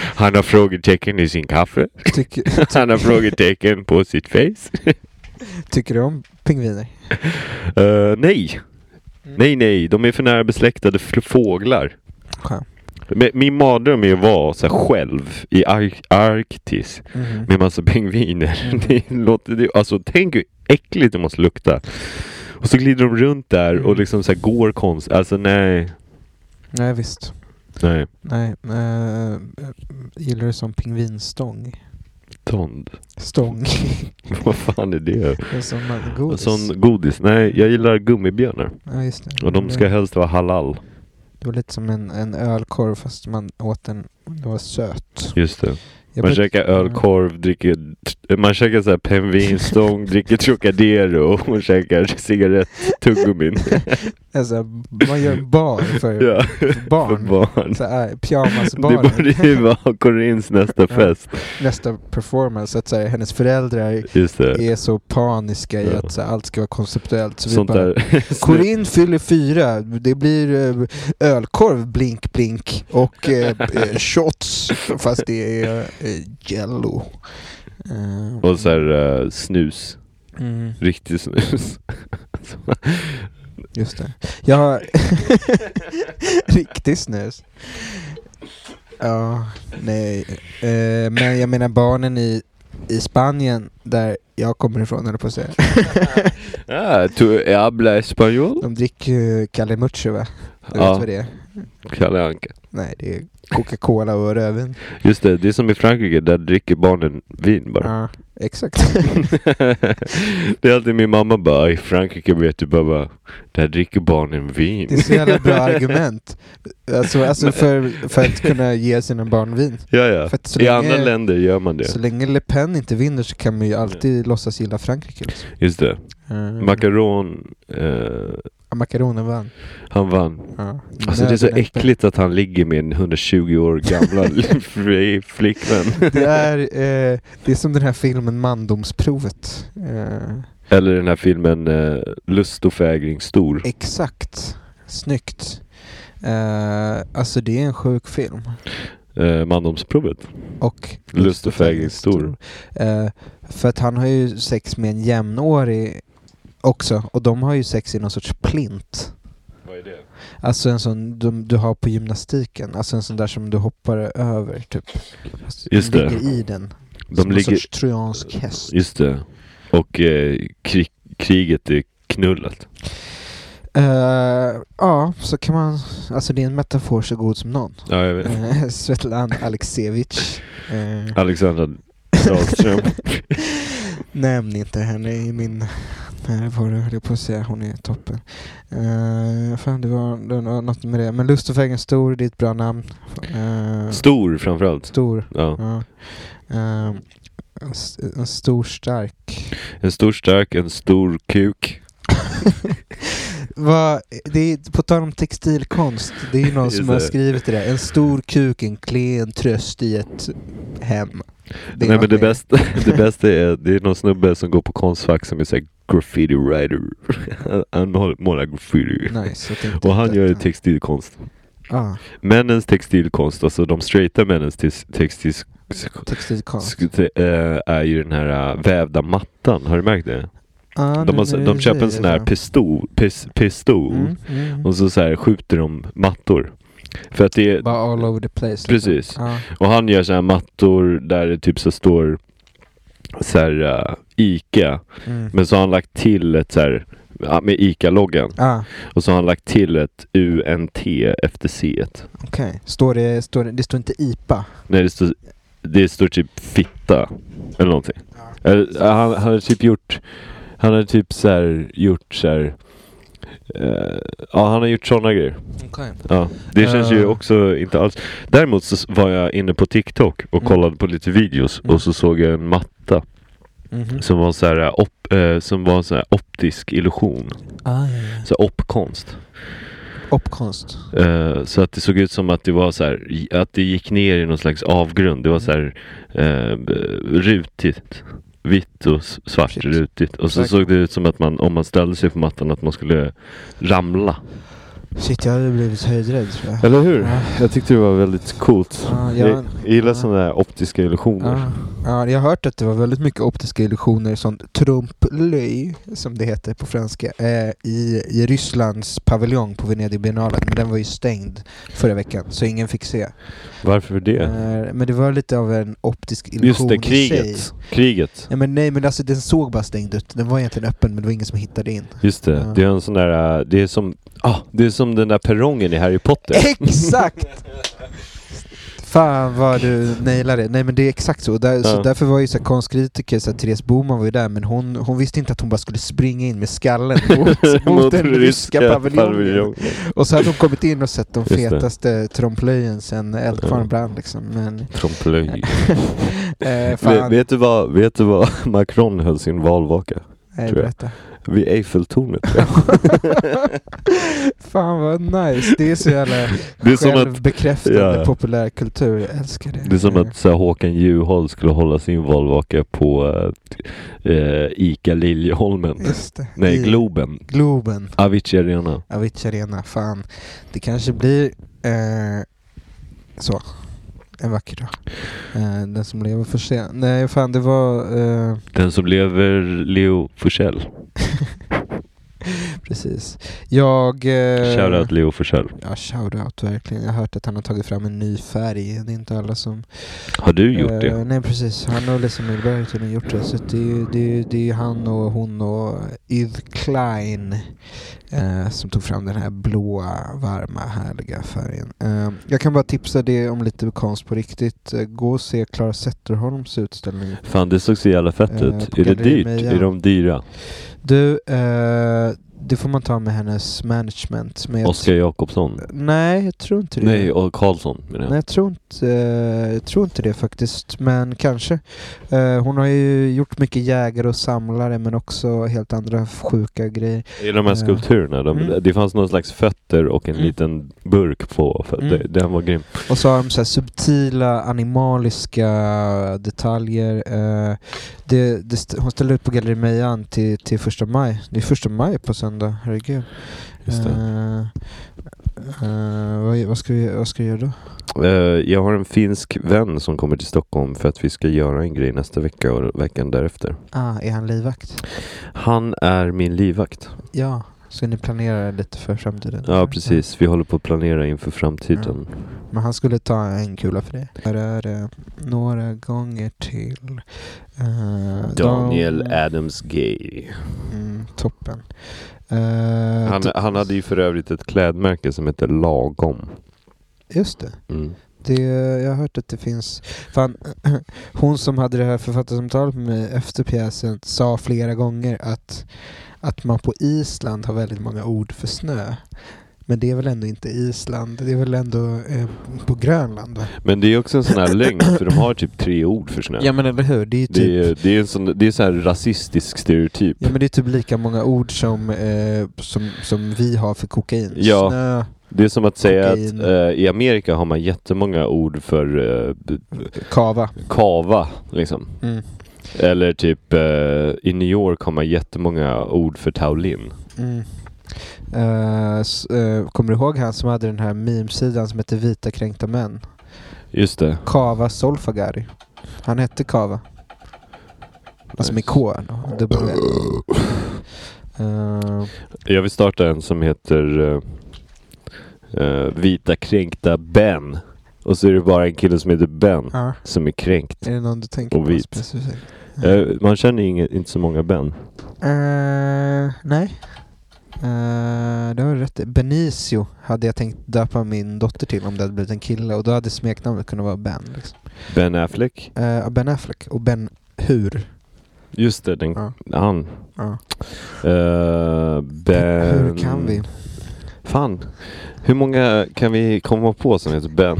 [SPEAKER 1] Han har frågetecken i sin kaffe.
[SPEAKER 2] Tycker,
[SPEAKER 1] Han har frågetecken på sitt face.
[SPEAKER 2] tycker du om pingviner?
[SPEAKER 1] Eh, nej. Nej, nej. De är för nära besläktade f- fåglar.
[SPEAKER 2] Skönt.
[SPEAKER 1] Men Min mardröm är att vara så här själv i Ar- Arktis
[SPEAKER 2] Mhm.
[SPEAKER 1] med massa
[SPEAKER 2] Mm.
[SPEAKER 1] pingviner. Det låter, det, alltså tänk hur äckligt det måste lukta. Och så glider de runt där
[SPEAKER 2] Mm.
[SPEAKER 1] och liksom så här går konst. Alltså nej.
[SPEAKER 2] Nej visst.
[SPEAKER 1] Nej.
[SPEAKER 2] Nej, eh, gillar du som pingvinstång?
[SPEAKER 1] Tond.
[SPEAKER 2] Stång.
[SPEAKER 1] Vad fan är det?
[SPEAKER 2] Det är som man- godis.
[SPEAKER 1] Sån godis? Nej, jag gillar gummibjörnar.
[SPEAKER 2] Ja, just det.
[SPEAKER 1] Och de ska helst vara halal.
[SPEAKER 2] Det var lite som en, en ölkorv fast man åt den, det var söt.
[SPEAKER 1] Just det.
[SPEAKER 2] Jag
[SPEAKER 1] Man
[SPEAKER 2] brukar-
[SPEAKER 1] käkar ölkorv, dricker... t- Man käkar så här pingvinstång, dricker Trocadero och käkar cigarett-tuggummin.
[SPEAKER 2] Alltså, man gör en bar för,
[SPEAKER 1] Ja.
[SPEAKER 2] för barn.
[SPEAKER 1] För barn.
[SPEAKER 2] Så här,
[SPEAKER 1] Det borde ju
[SPEAKER 2] pyjamasbaren.
[SPEAKER 1] vara Corins nästa
[SPEAKER 2] Ja.
[SPEAKER 1] fest.
[SPEAKER 2] Nästa performance, att så här, hennes föräldrar
[SPEAKER 1] Just det.
[SPEAKER 2] är så paniska i
[SPEAKER 1] Ja.
[SPEAKER 2] att så här, allt ska vara konceptuellt. Så
[SPEAKER 1] Sånt
[SPEAKER 2] vi bara,
[SPEAKER 1] där. Snu-
[SPEAKER 2] Corinne fyller fyra, det blir eh, ölkorv blink blink och eh, eh, shots fast det är eh, jello. Eh,
[SPEAKER 1] Och så här eh, snus.
[SPEAKER 2] mm,
[SPEAKER 1] Riktig snus.
[SPEAKER 2] just det. Jag har riktig snus. Ja, nej. Eh, men jag menar barnen i, i Spanien där jag kommer ifrån höll jag på att säga.
[SPEAKER 1] ah, tu habla español?
[SPEAKER 2] De dricker ju Calle Mucho va? Du
[SPEAKER 1] Ja.
[SPEAKER 2] vet vad det är?
[SPEAKER 1] Kalle Anka.
[SPEAKER 2] Nej, det är Coca-Cola och rödvin.
[SPEAKER 1] Just det, det är som i Frankrike, där dricker barnen vin bara.
[SPEAKER 2] Ja, exakt.
[SPEAKER 1] det är alltid min mamma bara, i Frankrike vet du bara, där dricker barnen vin.
[SPEAKER 2] Det är så jävla bra argument. Alltså, alltså för, för att kunna ge sina barn vin.
[SPEAKER 1] ja, ja.
[SPEAKER 2] För att så
[SPEAKER 1] I
[SPEAKER 2] länge-
[SPEAKER 1] andra länder gör man det.
[SPEAKER 2] Så länge Le Pen inte vinner så kan man ju alltid låtsas gilla Frankrike. Liksom.
[SPEAKER 1] Just det.
[SPEAKER 2] Mm.
[SPEAKER 1] Macaron, eh,
[SPEAKER 2] Ja, Macaronen vann.
[SPEAKER 1] han vann.
[SPEAKER 2] Ja.
[SPEAKER 1] Alltså det är så
[SPEAKER 2] Nöden öppen.
[SPEAKER 1] äckligt att han ligger med en 120 år gamla fri- flickvän.
[SPEAKER 2] Det är, eh, det är som den här filmen Mandomsprovet. Eh,
[SPEAKER 1] Eller den här filmen eh, Lust och fägring stor.
[SPEAKER 2] exakt. Snyggt. Eh, alltså det är en sjuk film.
[SPEAKER 1] Eh, Mandomsprovet.
[SPEAKER 2] Och
[SPEAKER 1] Lust och fägring stor.
[SPEAKER 2] Eh, för att han har ju sex med en jämnårig också. Och de har ju sex i någon sorts plint.
[SPEAKER 1] Vad är det?
[SPEAKER 2] Alltså en sån du, du har på gymnastiken, alltså en sån där som du hoppar över typ. Fast
[SPEAKER 1] Just
[SPEAKER 2] du
[SPEAKER 1] det.
[SPEAKER 2] ligger i den.
[SPEAKER 1] De
[SPEAKER 2] som
[SPEAKER 1] ligger-
[SPEAKER 2] en sorts trojansk häst.
[SPEAKER 1] Just det. Och eh, krig, kriget är knullat.
[SPEAKER 2] Eh, ja, så kan man, alltså det är en metafor så god som någon.
[SPEAKER 1] Ja, jag
[SPEAKER 2] Uh, Svetlan Aleksevich. Uh,
[SPEAKER 1] Alexandra Dahlström.
[SPEAKER 2] nämn inte henne i min närvaro höll jag på att säga, hon är toppen. Uh, fan det var, det var något med det, men Lust och fägring stor, det är ett bra namn. Eh,
[SPEAKER 1] Stor framförallt.
[SPEAKER 2] stor.
[SPEAKER 1] Ja.
[SPEAKER 2] Ja. Ehm, en, s- en stor stark.
[SPEAKER 1] En stor stark, en stor kuk.
[SPEAKER 2] Vad- det är, på tal om textilkonst, det är ju någon
[SPEAKER 1] Just
[SPEAKER 2] som har
[SPEAKER 1] det.
[SPEAKER 2] skrivit det där. En stor kuk, en klen tröst i ett hem. är
[SPEAKER 1] Nej
[SPEAKER 2] något
[SPEAKER 1] men det
[SPEAKER 2] med-
[SPEAKER 1] bästa, det bästa är, det är någon snubbe som går på Konstfack som är såhär graffiti writer. Han håller- målar graffiti.
[SPEAKER 2] Nice, jag tänkte
[SPEAKER 1] Och han
[SPEAKER 2] inte
[SPEAKER 1] gör ju
[SPEAKER 2] att-
[SPEAKER 1] textilkonst.
[SPEAKER 2] Ja,
[SPEAKER 1] Männens textilkonst, alltså de straighta männens tex- textil
[SPEAKER 2] textilkonst.
[SPEAKER 1] eh, är ju den här eh, vävda mattan, har du märkt det?
[SPEAKER 2] Ah,
[SPEAKER 1] De, har, så- de köper en sån här pistol, pis, pistol
[SPEAKER 2] Mm, mm.
[SPEAKER 1] och så, så här skjuter de mattor. För att det är,
[SPEAKER 2] Bara all over the place. liksom.
[SPEAKER 1] Precis.
[SPEAKER 2] Ja,
[SPEAKER 1] och han gör så här mattor där det typ så står så här eh, Ica.
[SPEAKER 2] mm.
[SPEAKER 1] Men så har han lagt till ett så här ja, med Ica-loggan.
[SPEAKER 2] Ah,
[SPEAKER 1] Och så har han lagt till ett UNT efter C. -et.
[SPEAKER 2] okej. Står det, står det, det står inte IPA?
[SPEAKER 1] Nej, det står, det står typ fitta. Eller någonting. Eller, eh, han, han hade typ gjort... Han hade typ så här gjort så här... eh, ja, han har gjort sådana grejer.
[SPEAKER 2] Okej.
[SPEAKER 1] Ja, det känns ju
[SPEAKER 2] Eh.
[SPEAKER 1] också inte alls... Däremot så s- var jag inne på TikTok och
[SPEAKER 2] Mm.
[SPEAKER 1] kollade på lite videos
[SPEAKER 2] Mm.
[SPEAKER 1] och så såg jag en matta
[SPEAKER 2] Mhm.
[SPEAKER 1] som var så här, eh, op, eh, som var så här optisk illusion.
[SPEAKER 2] Ah, ja, ja.
[SPEAKER 1] Så här opkonst.
[SPEAKER 2] Opkonst.
[SPEAKER 1] Eh, så att det såg ut som att det var så här, i- att det gick ner i någon slags avgrund. Det var så här eh, b- rutigt. Vitt och s- svart
[SPEAKER 2] Shit.
[SPEAKER 1] rutigt. Och så
[SPEAKER 2] Säkert.
[SPEAKER 1] såg det ut som att man, om man ställde sig på mattan, att man skulle ramla.
[SPEAKER 2] Shit, jag hade blivit höjdrädd tror jag.
[SPEAKER 1] Eller hur?
[SPEAKER 2] Ja.
[SPEAKER 1] Jag tyckte det var väldigt coolt.
[SPEAKER 2] Ja, jag-
[SPEAKER 1] jag, jag gillar
[SPEAKER 2] ja.
[SPEAKER 1] sådana där optiska illusioner.
[SPEAKER 2] Ja. Ja, jag har hört att det var väldigt mycket optiska illusioner, sånt trompe-l'œil som det heter på franska, eh, i, i Rysslands paviljong på Venedigbiennalen. Men den var ju stängd förra veckan, så ingen fick se.
[SPEAKER 1] Varför det?
[SPEAKER 2] Eh, men det var lite av en optisk
[SPEAKER 1] Just
[SPEAKER 2] illusion
[SPEAKER 1] det,
[SPEAKER 2] i sig.
[SPEAKER 1] kriget. Kriget.
[SPEAKER 2] Nej men, nej, men alltså den såg bara stängd ut. Den var egentligen öppen men det var ingen som hittade in.
[SPEAKER 1] Just det.
[SPEAKER 2] Ja.
[SPEAKER 1] Det är en sån där... äh, Det är som... Ah, det är som den där perrongen i Harry Potter.
[SPEAKER 2] Exakt! Fan vad du nailar det. Nej men det är exakt så. Där, så
[SPEAKER 1] Ja.
[SPEAKER 2] därför var ju så här konstkritiker, så här, Therese Boman var ju där men hon, hon visste inte att hon bara skulle springa in med skallen mot, mot den ryska paviljongen. Och så hade hon kommit in och sett de
[SPEAKER 1] Just det.
[SPEAKER 2] fetaste tromplöjen sen
[SPEAKER 1] Ja.
[SPEAKER 2] Eldkvarn brann liksom. Men,
[SPEAKER 1] Trompe-l'œil.
[SPEAKER 2] eh,
[SPEAKER 1] Vet,
[SPEAKER 2] fan.
[SPEAKER 1] vet, du vad, vet du vad Macron höll sin valvaka?
[SPEAKER 2] Nej,
[SPEAKER 1] tror jag.
[SPEAKER 2] berätta.
[SPEAKER 1] Vid Eiffeltornet.
[SPEAKER 2] Fan vad nice. Det är så jävla
[SPEAKER 1] Det är som att-
[SPEAKER 2] självbekräftande
[SPEAKER 1] Ja, ja.
[SPEAKER 2] populärkultur. Jag älskar det.
[SPEAKER 1] Det är som
[SPEAKER 2] Eh.
[SPEAKER 1] att så här, Håkan Juholt skulle hålla sin valvaka på eh, eh, Ica Liljeholmen.
[SPEAKER 2] Just det.
[SPEAKER 1] Nej,
[SPEAKER 2] I
[SPEAKER 1] Globen.
[SPEAKER 2] Globen.
[SPEAKER 1] Avicii Arena.
[SPEAKER 2] Avicii Arena. Fan. Det kanske blir eh, så. En vacker dag. Eh, den som lever får se. Nej, fan det var... Eh,
[SPEAKER 1] Den som lever Leo Forsell.
[SPEAKER 2] precis. Jag... Eh,
[SPEAKER 1] Shoutout Leo Forsell.
[SPEAKER 2] Ja, shoutout verkligen. Jag har hört att han har tagit fram en ny färg. Det är inte alla som...
[SPEAKER 1] Har du gjort
[SPEAKER 2] Eh,
[SPEAKER 1] det?
[SPEAKER 2] Nej precis, han och Lisa Milberg har tydligen gjort det. Så det är ju det är, ju- det är ju han och hon och Yves Klein eh, som tog fram den här blåa, varma, härliga färgen. Eh, jag kan bara tipsa dig om lite konst på riktigt. Eh, gå och se Clara Zetterholms utställning.
[SPEAKER 1] Fan det såg så jävla fett
[SPEAKER 2] Eh,
[SPEAKER 1] ut.
[SPEAKER 2] på
[SPEAKER 1] Är det
[SPEAKER 2] Galleri
[SPEAKER 1] dyrt?
[SPEAKER 2] Meja.
[SPEAKER 1] Är de dyra?
[SPEAKER 2] Du, eh, det får man ta med hennes management. Men jag
[SPEAKER 1] Oskar Jakobsson?
[SPEAKER 2] tr- Nej, jag tror inte det.
[SPEAKER 1] Nej, och Karlsson menar
[SPEAKER 2] Nej,
[SPEAKER 1] jag.
[SPEAKER 2] jag tror inte, eh, jag tror inte det faktiskt, men kanske. Eh, Hon har ju gjort mycket jägare och samlare, men också helt andra sjuka grejer.
[SPEAKER 1] Är de här
[SPEAKER 2] Eh.
[SPEAKER 1] skulpturerna? De,
[SPEAKER 2] Mm.
[SPEAKER 1] Det fanns någon slags fötter och en
[SPEAKER 2] Mm.
[SPEAKER 1] liten burk på. För
[SPEAKER 2] Mm.
[SPEAKER 1] det, den var grym.
[SPEAKER 2] Och så har de så här subtila animaliska detaljer. Eh, Det, det, st- hon ställer ut på Galleri Mejan till, till första maj. Det är första maj på söndag, herregud.
[SPEAKER 1] Just det.
[SPEAKER 2] Eh, eh, vad, vad, ska vi, vad ska vi göra då?
[SPEAKER 1] Eh, jag har en finsk vän som kommer till Stockholm för att vi ska göra en grej nästa vecka och veckan därefter.
[SPEAKER 2] Ah, är han livvakt?
[SPEAKER 1] Han är min livvakt.
[SPEAKER 2] Ja, så ni planerar lite för framtiden?
[SPEAKER 1] Ja, precis. Vi håller på att planera inför framtiden.
[SPEAKER 2] Men han skulle ta en kula för det. Här är det några gånger till. Eh,
[SPEAKER 1] Daniel
[SPEAKER 2] de-
[SPEAKER 1] Adams Gay.
[SPEAKER 2] Mm, toppen. Eh,
[SPEAKER 1] Han,
[SPEAKER 2] to-
[SPEAKER 1] han hade ju för övrigt ett klädmärke som heter Lagom.
[SPEAKER 2] Just det.
[SPEAKER 1] Mm.
[SPEAKER 2] det. Jag har hört att det finns... Fan, hon som hade det här författarsamtalet med mig efter pjäsen sa flera gånger att, att man på Island har väldigt många ord för snö. Men det är väl ändå inte Island? Det är väl ändå eh, på Grönland? Va?
[SPEAKER 1] Men det är också en sån här lögn för de har typ tre ord för snö.
[SPEAKER 2] men eller hur? Det är ju typ...
[SPEAKER 1] Det är, det är en sån, det är sån här rasistisk stereotyp.
[SPEAKER 2] Ja men det är typ lika många ord som, eh, som, som vi har för kokain.
[SPEAKER 1] Ja.
[SPEAKER 2] Snö,
[SPEAKER 1] Det är som att säga
[SPEAKER 2] Kokain.
[SPEAKER 1] att eh, i Amerika har man jättemånga ord för eh, b-
[SPEAKER 2] kava.
[SPEAKER 1] kava, liksom.
[SPEAKER 2] Mm.
[SPEAKER 1] Eller typ eh, i New York har man jättemånga ord för Taolin.
[SPEAKER 2] Mm. Eh, s- eh, kommer du ihåg han som hade den här meme-sidan som hette Vita kränkta män?
[SPEAKER 1] Just det.
[SPEAKER 2] Kava Solfagari. Han hette Kava. Alltså med K. då, dubbel L. Eh,
[SPEAKER 1] Jag vill starta en som heter eh, eh, Vita kränkta Ben. Och så är det bara en kille som heter Ben
[SPEAKER 2] ja.
[SPEAKER 1] som är kränkt.
[SPEAKER 2] Är det någon du tänker
[SPEAKER 1] Och
[SPEAKER 2] på
[SPEAKER 1] vit.
[SPEAKER 2] specifikt?
[SPEAKER 1] Eh, man känner inget, inte så många Ben.
[SPEAKER 2] Eh, nej. Eh, det har du rätt i. Benicio hade jag tänkt döpa min dotter till om det hade blivit en kille och då hade smeknamnet kunnat vara Ben. Liksom.
[SPEAKER 1] Ben Affleck.
[SPEAKER 2] Eh, ben Affleck och Ben Hur.
[SPEAKER 1] Just det, den,
[SPEAKER 2] Ja.
[SPEAKER 1] han.
[SPEAKER 2] Ja.
[SPEAKER 1] Eh, ben...
[SPEAKER 2] Hur kan vi?
[SPEAKER 1] Fan. Hur många kan vi komma på som heter Ben?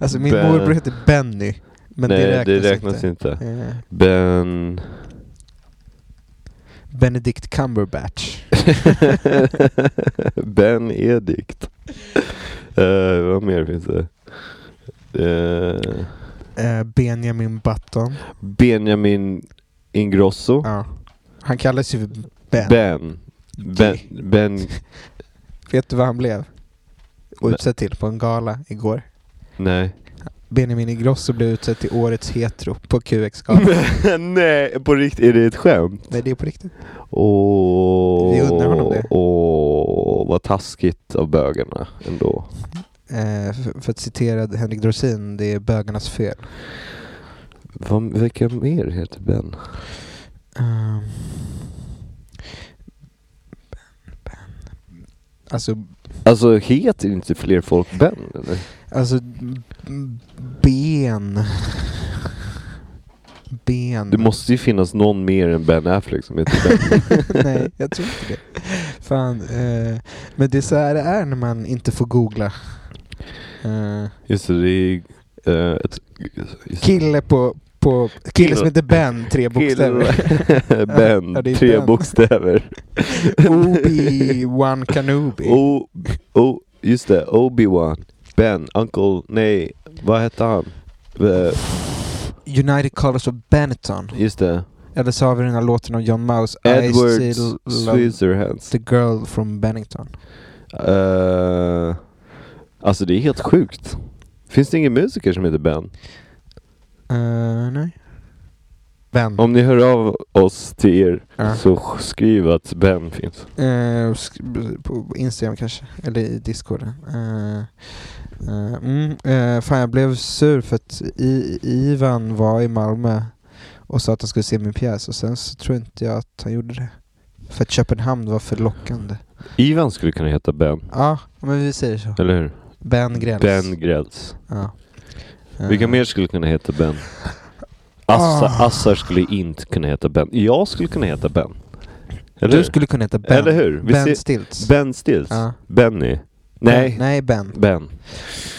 [SPEAKER 2] Alltså min
[SPEAKER 1] Ben-
[SPEAKER 2] morbror heter Benny. Men
[SPEAKER 1] Nej,
[SPEAKER 2] det räknas,
[SPEAKER 1] inte.
[SPEAKER 2] inte. Eh,
[SPEAKER 1] Ben...
[SPEAKER 2] Benedict Cumberbatch.
[SPEAKER 1] ben Edikt. Eh, vad mer finns det? Eh,
[SPEAKER 2] Eh, Benjamin Button.
[SPEAKER 1] Benjamin Ingrosso.
[SPEAKER 2] Ja. Han kallas ju för Ben.
[SPEAKER 1] Ben. Ben, ben
[SPEAKER 2] Vet du vad han blev? Och
[SPEAKER 1] Nej.
[SPEAKER 2] utsedd till på en gala igår.
[SPEAKER 1] Nej.
[SPEAKER 2] Benjamin Ingrosso blev utsedd till årets hetero på QX-galan.
[SPEAKER 1] Nej, på riktigt. Är det ett skämt?
[SPEAKER 2] Nej, det är på riktigt.
[SPEAKER 1] Åh,
[SPEAKER 2] Vi undrar honom det.
[SPEAKER 1] Åh, vad taskigt av bögarna ändå.
[SPEAKER 2] Eh, för, för att citera Henrik Dorsin, det är bögarnas fel.
[SPEAKER 1] Vad, vilka mer heter Ben?
[SPEAKER 2] Ehm. Ben, Ben. Alltså,
[SPEAKER 1] Alltså heter inte fler folk Ben eller?
[SPEAKER 2] alltså m- ben. Ben.
[SPEAKER 1] Det måste ju finnas någon mer än Ben Affleck som heter Ben.
[SPEAKER 2] Nej, jag tror inte det. Fan, eh, men det är så här det är när man inte får googla. Eh,
[SPEAKER 1] Just det, det är eh, ett... just-
[SPEAKER 2] kille på, på kille som heter Ben, tre bokstäver.
[SPEAKER 1] Kille. ben,
[SPEAKER 2] Ja, det är
[SPEAKER 1] tre
[SPEAKER 2] Ben.
[SPEAKER 1] bokstäver.
[SPEAKER 2] Obi-Wan Kenobi.
[SPEAKER 1] O, o, just det, Obi-Wan. Ben, Uncle, nej, vad hette han? Eh,
[SPEAKER 2] United Colors of Benetton.
[SPEAKER 1] Just det,
[SPEAKER 2] Eller så har vi den här låten av John Mouse. I
[SPEAKER 1] Edward
[SPEAKER 2] still love
[SPEAKER 1] Scissorhands.
[SPEAKER 2] the girl from Bennington.
[SPEAKER 1] Uh, alltså det är helt sjukt. Finns det ingen musiker som heter Ben?
[SPEAKER 2] Eh, nej. Ben.
[SPEAKER 1] Om ni hör av oss till er
[SPEAKER 2] Ja.
[SPEAKER 1] så sk- skriv att Ben finns.
[SPEAKER 2] Eh, sk- på Instagram kanske, eller i Discord. Eh, eh, mm, eh, fan jag blev sur för att I, Ivan var i Malmö och sa att han skulle se min pjäs och sen så tror inte jag att han gjorde det. För att Köpenhamn var för lockande.
[SPEAKER 1] Ivan skulle kunna heta Ben,
[SPEAKER 2] Ja, men vi säger så.
[SPEAKER 1] eller hur?
[SPEAKER 2] Ben Grels.
[SPEAKER 1] Ben Grels.
[SPEAKER 2] Ja. Eh,
[SPEAKER 1] Vilka mer skulle kunna heta Ben? Assa,
[SPEAKER 2] Ah.
[SPEAKER 1] Assar skulle inte kunna heta Ben. Jag skulle kunna heta Ben. Eller
[SPEAKER 2] Du
[SPEAKER 1] hur?
[SPEAKER 2] skulle kunna heta Ben.
[SPEAKER 1] Eller hur? Vi
[SPEAKER 2] ben
[SPEAKER 1] ser-
[SPEAKER 2] Stilts.
[SPEAKER 1] Ben Stills?
[SPEAKER 2] Ja.
[SPEAKER 1] Benny? Nej,
[SPEAKER 2] Nej, Ben.
[SPEAKER 1] Ben.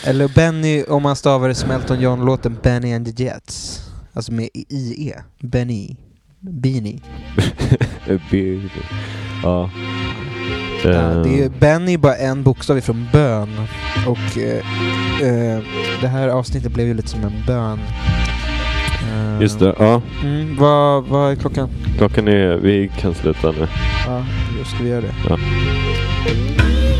[SPEAKER 2] Eller Benny, om man stavar det som Elton John-låten Benny and the Jets. Alltså med IE. Benny. Beanie.
[SPEAKER 1] Benny. Eh, ja.
[SPEAKER 2] Ja, det är, ju-
[SPEAKER 1] Eh,
[SPEAKER 2] Benny är bara en bokstav ifrån bön. Och eh, eh, det här avsnittet blev ju lite som en bön. Eh,
[SPEAKER 1] Just det, ja.
[SPEAKER 2] Mm, vad, vad är klockan?
[SPEAKER 1] Klockan är... Vi kan sluta nu.
[SPEAKER 2] Ja, då ska vi göra det.
[SPEAKER 1] Ja.